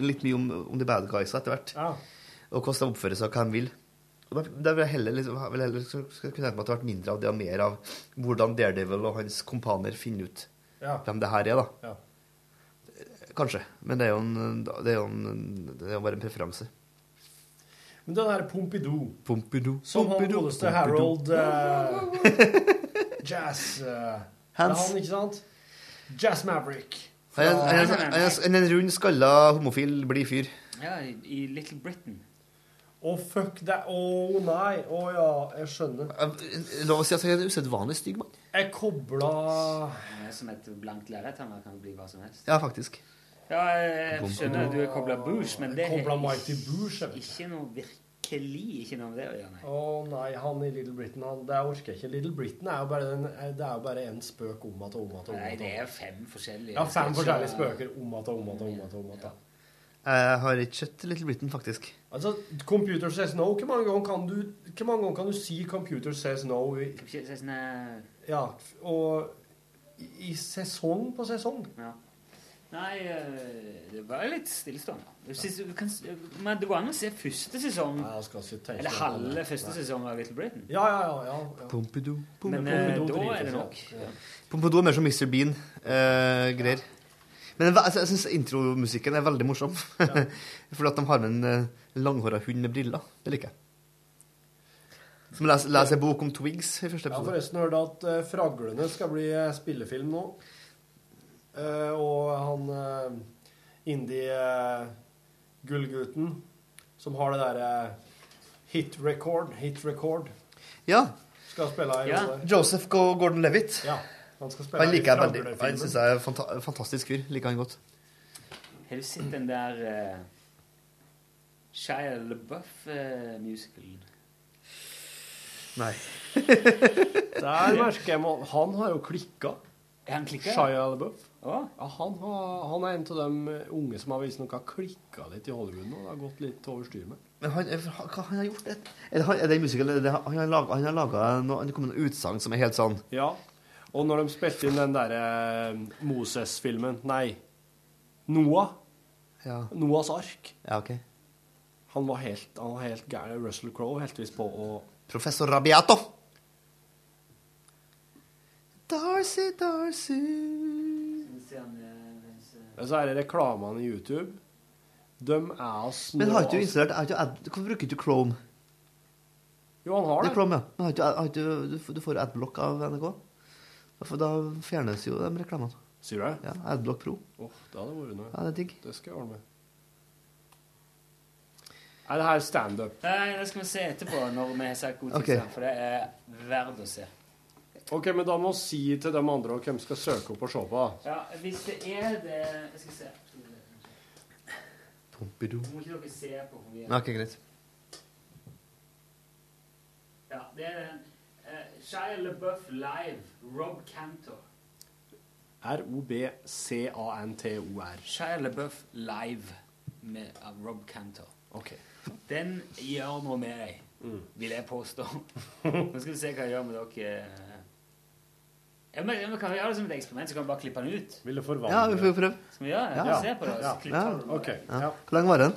litt mye om, om de bad guys etter hvert. Ja. Og hvordan de oppfører seg og hva de vil. Og da- da vil jeg heller, liksom, jeg vil heller så skal jeg kunne tenke meg at det har vært mindre av det og mer av hvordan Daredevil og hans kompaner finner ut Ja. hvem det her er, da. Ja. Kanskje. Men det er jo, en, det er jo, en, det er jo bare en preferanse. Men den der Pompidou Pompidou. Som han Pompidou, Pompidou. godeste Harold eh, Jazz eh, Det er Hans. han, ikke sant? Jazz Maverick. Han er- han er- han er- han er en rund, skalla, homofil, blid fyr. Ja, i, i Little Britain. Å, fuck deg. Å nei. Å ja, jeg skjønner. Lov å si at han er en usedvanlig stygg mann. Jeg kobla Han er som et blankt lerret. Han kan bli hva som helst. Ja, faktisk. Ja, jeg skjønner du er kobla Bush, men det Koblet Mighty Bush, jeg vet ikke noe virkelig ikke noe med det å gjøre. nei. Å nei, han i Little Britain, han, det orker jeg ikke. Little Britain er jo bare en, eh, det er jo bare en spøk om at og om at og om Nei, at det og- er fem forskjellige. Ja, fem sketsjer. forskjellige spøker om at og om at og om at og om at. Jeg har ikke sett Little Britain, faktisk. Altså, Computer Says No, hvor mange ganger kan du, hvor mange ganger kan du si Computer Says No i Computer Says No. Ja, f- og i, i sesong på sesong. Ja. Nei, eh, det var litt stillestående. Du synes- du kan s- Men det går an å se første sesong. Eller halve første sesong av Little Britain. Ja, ja, ja. ja, ja. Pompidou. Men eh, Pompidou da driter er det seg nok. ut. Ja. Pompidou er mer som Mr. Bean-greier. Men jeg, jeg syns intromusikken er veldig morsom. Fordi at de har med en eh, langhåra hund med briller. Det liker jeg. Som leser, leser en bok om Twigs i første Jeg har episode. forresten hørt at eh, 'Fraglene' skal bli eh, spillefilm nå. Eh, og han uh, indie-gullgutten som har det derre hit record, hit record, Ja. skal spille i rolle. Joseph Go- Gordon-Levitt. Ja, han skal spille Han i liker jeg veldig. Fraglene-filmen. Han syns jeg er fanta fantastisk fyr. Liker han godt. Har du sett den der eh, Shia eh, LaBeouf-musicalen? Nei. Der merker jeg meg Han har jo klikka. Han klikket? Shia LaBeouf. Ja, han, har, han er en av de unge som har vist nok har klikka litt i Hollywood nå. Det har gått litt over styr med. Men han, er- hva hva han har gjort det? Er det, han- er det musikeren er det, Han har laga- han har laga noe Det kommer noen utsagn som er helt sånn Ja. Og når de spilte inn den derre Moses-filmen Nei. Noah. Ja. Noahs ark. Ja, OK. Han var helt, han var helt gæren. Russell Crowe heldigvis på å Professor Rabiato. Darcy, Darcy Men så er det reklamene i YouTube. De er små Men har ikke du installert har ikke, Ad- Hvorfor bruker du ikke Chrome? Jo, han har Det det. er Chrome, ja. Men har ikke, har ikke, du, f- du får Adblock av NRK. For da fjernes jo de reklamene. Sier du det? Ja, Adblock Pro. Åh, det hadde vært noe. Ja, det er digg. Det skal jeg ordne med. Er det her standup? Nei, det skal vi se etterpå, når vi har sagt god tid Ok. sammen, for det er verdt å se. Ok, men da må vi si til de andre hvem skal søke opp og se på. Ja, hvis det er det Jeg skal se. Pompidou. Må ikke dere se på hvor mye Nei, ok, greit. Ja, det er den. eh, Shia LaBeouf live. Rob Cantor. R-O-B-C-A-N-T-O-R. Shia LaBeouf live med av Rob Cantor. Ok. Mm. Den gjør noe med deg, vil jeg påstå. Nå skal vi se hva jeg gjør med dere. eh. Ja, men, ja, men Kan vi gjøre det som et eksperiment, så kan vi bare klippe den ut? Vil du forvandle Ja, vi får prøve. Skal vi gjøre det? Ja. Se på det, Ja. så klipper Ja. vi den ut. Ja. Hvor lenge var den?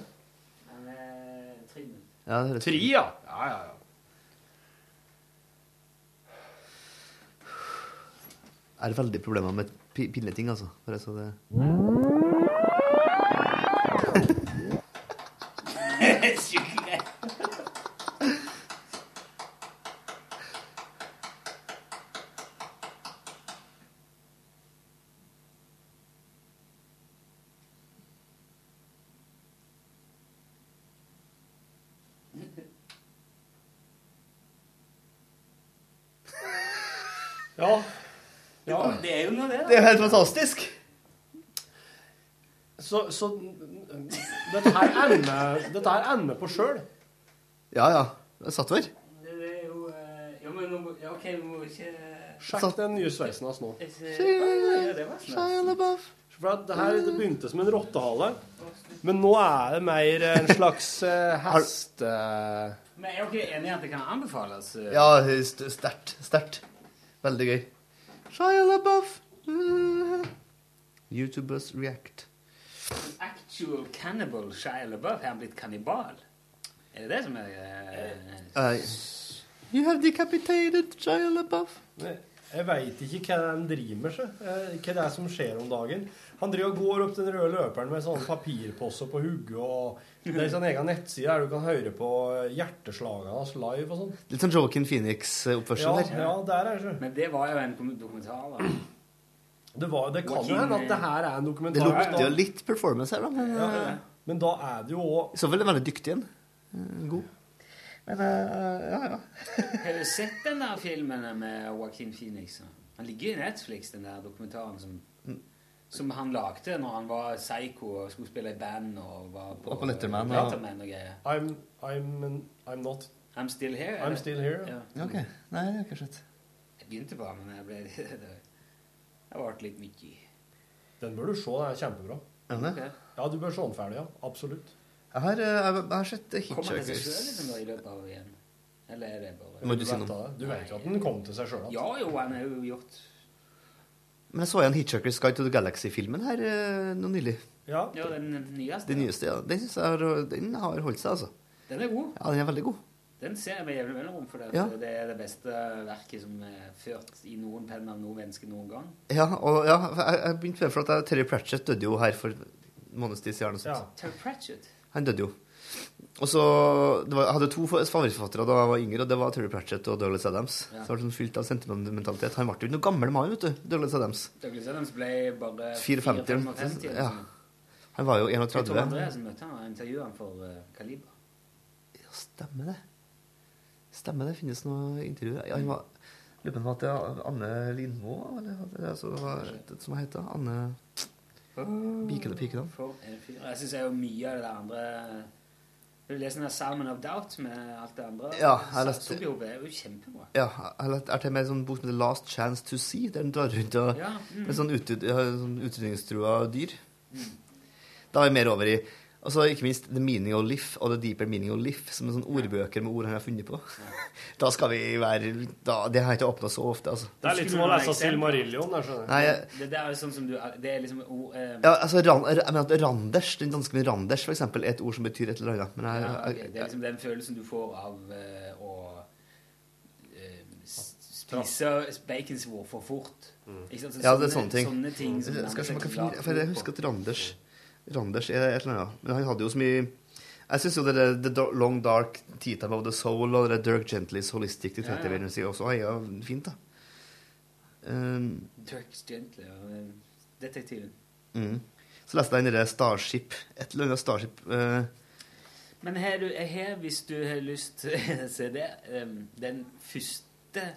Den er tre minutter. Ja, det høres Tre, ja. Ja, ja, ja. Jeg har veldig problemer med pi- pinneting, altså. Bare så det Skikkelig. Ja. ja. Det er jo noe, det. da. Det er jo helt fantastisk! Så, så dette her ender, dette her ender på sjøl. Ja, ja. Jeg satt over. Det er jo eh, Ja, men nå må- ja, OK, vi må ikke Sjekk den nye sveisen hans nå. Jeg ser- Oi, ja, det var snart. For at det her det begynte som en rottehale, men nå er det mer en slags eh, hest... eh, Men er dere enige i at det kan anbefales? eh? Ja, st- sterkt. Sterkt. Veldig gøy. Shia LaBeouf. YouTubers react. Actual cannibal Shia LaBeouf, er han blitt kannibal? Er det det som er eh, You have decapitated Shia LaBeouf. Jeg veit ikke hva han driver med. så. Eh, Hva det er som skjer om dagen. Han driver og går opp den røde løperen med sånne papirposer på hodet. og Det er en sånn egen nettside der du kan høre på hjerteslagene hans live og sånn. Litt sånn Joaquin Phoenix-oppførsel Ja, der. ja, der er det. Men det var jo en kom- dokumentar, da. Det, var, det kan jo hende at det her er en Det dokumentar. lukter jo da. litt performance her, da. Men Ja, eh, men da er det jo òg i så fall er det veldig dyktig en. Eh, God. Men eh, ja, ja. Har du sett den der filmen med Joaquin Phoenix? Han ligger i Netflix, den der dokumentaren som, som han lagde når han var psycho og skulle spille i band og var på, Og på Letterman, ja. Letterman og greier. I'm, I'm, an- I'm not I'm still here. I'm eller? still here, ja. Ja. Ok. Nei, det har jeg ikke sett. Jeg begynte på den, men jeg ble det, ble litt mye. Den bør du se. Den er kjempebra. Er den det? Ja, du bør se den ferdig. ja. Absolutt. Jeg har, eh, jeg jeg har sett eh, Kommer han til seg selv Hitchhikers. liksom, da, i løpet av igjen? Eller er det bare Må du si noe? Du vet jo at den kom til seg sjøl. Ja jo, han er jo gjort Men jeg så igjen Hitchhiker's Guide to the Galaxy-filmen her eh, nå nylig. Ja. den nyeste. Den nyeste, ja. Den, synes jeg har, den har holdt seg, altså. Den er god. Ja, den er veldig god. Den ser jeg med jevne mellomrom, for det, at Ja. det er det beste verket som er ført i noen penn av noe menneske noen gang. Ja, og ja, for jeg, jeg begynte med for at jeg- Terry Pratchett døde jo her for en måneds tid siden. eller noe sånt. Terry Pratchett. Han døde jo. Og så, det var, Jeg hadde to favorittforfattere da jeg var yngre, og det var Terry Pratchett og Douglas Adams. Ja. Så jeg var sånn fylt av sentimentalitet. Han ble jo ikke noen gammel mann, vet du. Douglas Adams. Douglas Adams ble bare 54. 54, eller Ja. sånn. Han var jo Jeg tror 31. Andreasen møtte han og intervjuet han for eh, Kaliber. Stemmer det. Stemmer det. Finnes noe intervju ja, Han var Lurer på om det var Anne Lindmo, eller hva altså, det som hun heter. Anne Bikene Pikedam. For en fyr. Jeg synes jeg er jo mye av det der andre... Har du lest den der Salmon of Doubt med alt det andre? Ja, jeg har lest- leste... Satsopjobb er jo kjempebra. Ja, eller er til og med en sånn bok som heter Last Chance to See, der den drar rundt og, Ja, mm. med sånn, utryd, ja, sånn utrydningstrua dyr. Da er vi mer over i Og så ikke minst The Meaning of Life og The Deeper Meaning of Life, som er sånne ordbøker med ord han har funnet på. Da skal vi være da, Det har jeg ikke åpna så ofte, altså. Det er litt som å lese Silmarillion. Jeg skjønner. Nei, jeg- Det der er sånn som du... Det er liksom... ord, eh, ja, altså, ran, jeg mener at Randers, den dansken Randers, for eksempel, er et ord som betyr et eller annet. Men jeg, Ja, ok. jeg, Det er liksom den følelsen du får av eh, å eh, s- spise baconsvor for fort. Ikke sant? Så Mm. Ja, det er sånne ting. Sånne ting som jeg, skal se om jeg, kan nærmer finne, seg for jeg klart husker at Randers Randers er et eller annet, ja. men han hadde jo så mye Jeg syns jo det der The Dar- Long Dark Tea Time of the Soul og det der Dirk Gentlys Holistic Detective Ja, ja. Agency også er ja, fint, da. Um, på. Dirk Gently og eh, detektiven. mm. Så leste jeg den derre Starship Et eller annet Starship eh, Men her, du, her, hvis du har lyst til å se det eh, Den første Du, den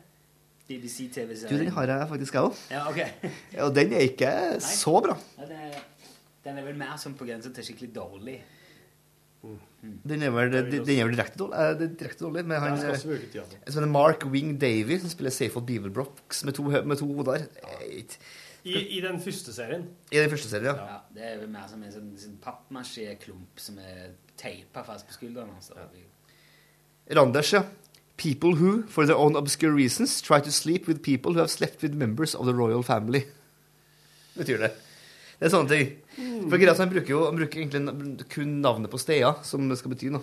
BBC-TV-serien har jeg faktisk, jeg òg. Ja, ok. Og den er ikke så bra. Ja, den er- den er vel mer som på grensa til skikkelig dårlig. Den er vel, den er vel direkte dårlig, eh, det er direkte dårlig med han Jeg skal eh, også bruke tida på. som heter Mark Wing Davy, som spiller Safehold Beaverbrocks med to, hø- med to hoder. Eh, I, I den første serien. I den første serien, ja. Ja, det er vel mer som en sånn, sånn pappmasjé-klump som er teipa fast på skulderen hans. da. Randers, ja. People who, for their own obscure reasons, try to sleep with people who have slept with members of the royal family. Betyr det. Det er sånne ting. Hmm. For greia er at Han bruker jo han bruker egentlig na- kun navnet på steder som det skal bety noe.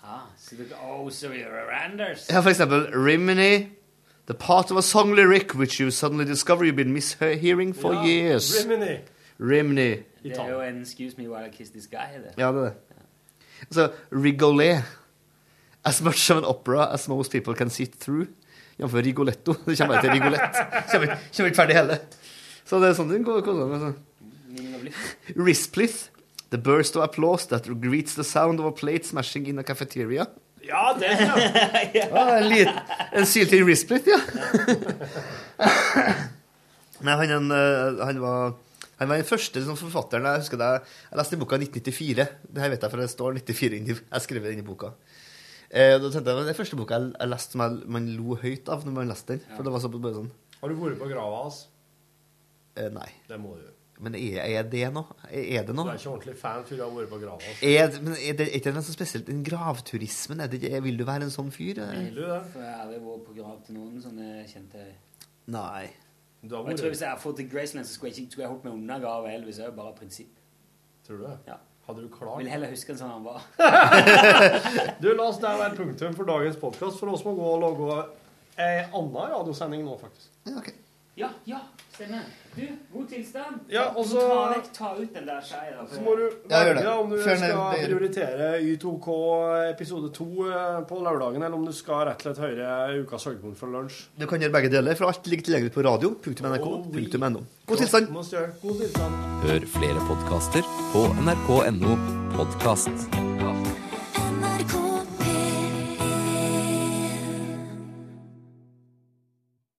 Ah, så dere Oh, so you're a Randers? Ja, for eksempel Rimini. The part of a song lyric which you suddenly discover you've been mishearing for Ja, years. Rimini. Rimini. Det er jo en 'excuse me while I kiss this guy'. Det. Ja, det er det. Altså, Rigolet. As much of an opera as most people can sit through. Jf. Rigoletto. Det kommer bare til Rigolett. Kommer, ikke- kommer ikke ferdig heller. Så det er sånn den går. går med, så. Meaning of life. Risplith. The burst of applause that greets the sound of a plate smashing in a cafeteria. Ja, den, ja. Ah, en, lit, en syltynn Risplith, ja. Nei, han, en, eh, han var han var den første liksom, forfatteren jeg husker det, Jeg leste boka i 1994. Det her vet jeg, for det står 94 inni, jeg skrev det inni boka. Eh, da tenkte jeg, Det er den første boka jeg, jeg leste som jeg, man lo høyt av når man leste den. For det var så, bare sånn Har du vært på grava hans? eh, Nei. Det må du. Men er, er det noe? Er, er det Du noe? er ikke ordentlig fan før du har vært på grava hans. Er, men er det er ikke noe så spesielt den gravturismen? Er det, ikke- vil du være en sånn fyr? eh? For jeg har aldri vært på grav til noen sånne kjente Nei. Og jeg tror Hvis jeg hadde fått til Graceland, så skulle jeg ikke skulle jeg holdt meg unna grav og Elvis. Det er jo bare prinsipp. Tror du det? Ja. Hadde du klart Vil heller huske den som han var. Du, la oss der være punktum for dagens podkast, for oss må gå og lage ei anna radiosending nå, faktisk. Ja, ja, stemmer. Du, god tilstand. Ja, og så- ta, vekk, ta ut den der skeia. da, for- Så må du Ja, gjør velge det. om du Før den skal blir- prioritere Y2K episode 2 eh, på lørdagen, eller om du skal rett og slett høre ukas høydepunkt fra lunsj. Du kan gjøre begge deler, for alt ligger tilgjengelig på radio.nrk.no. God tilstand! Må vi gjøre. God tilstand. Hør flere podkaster på nrk.no podkast.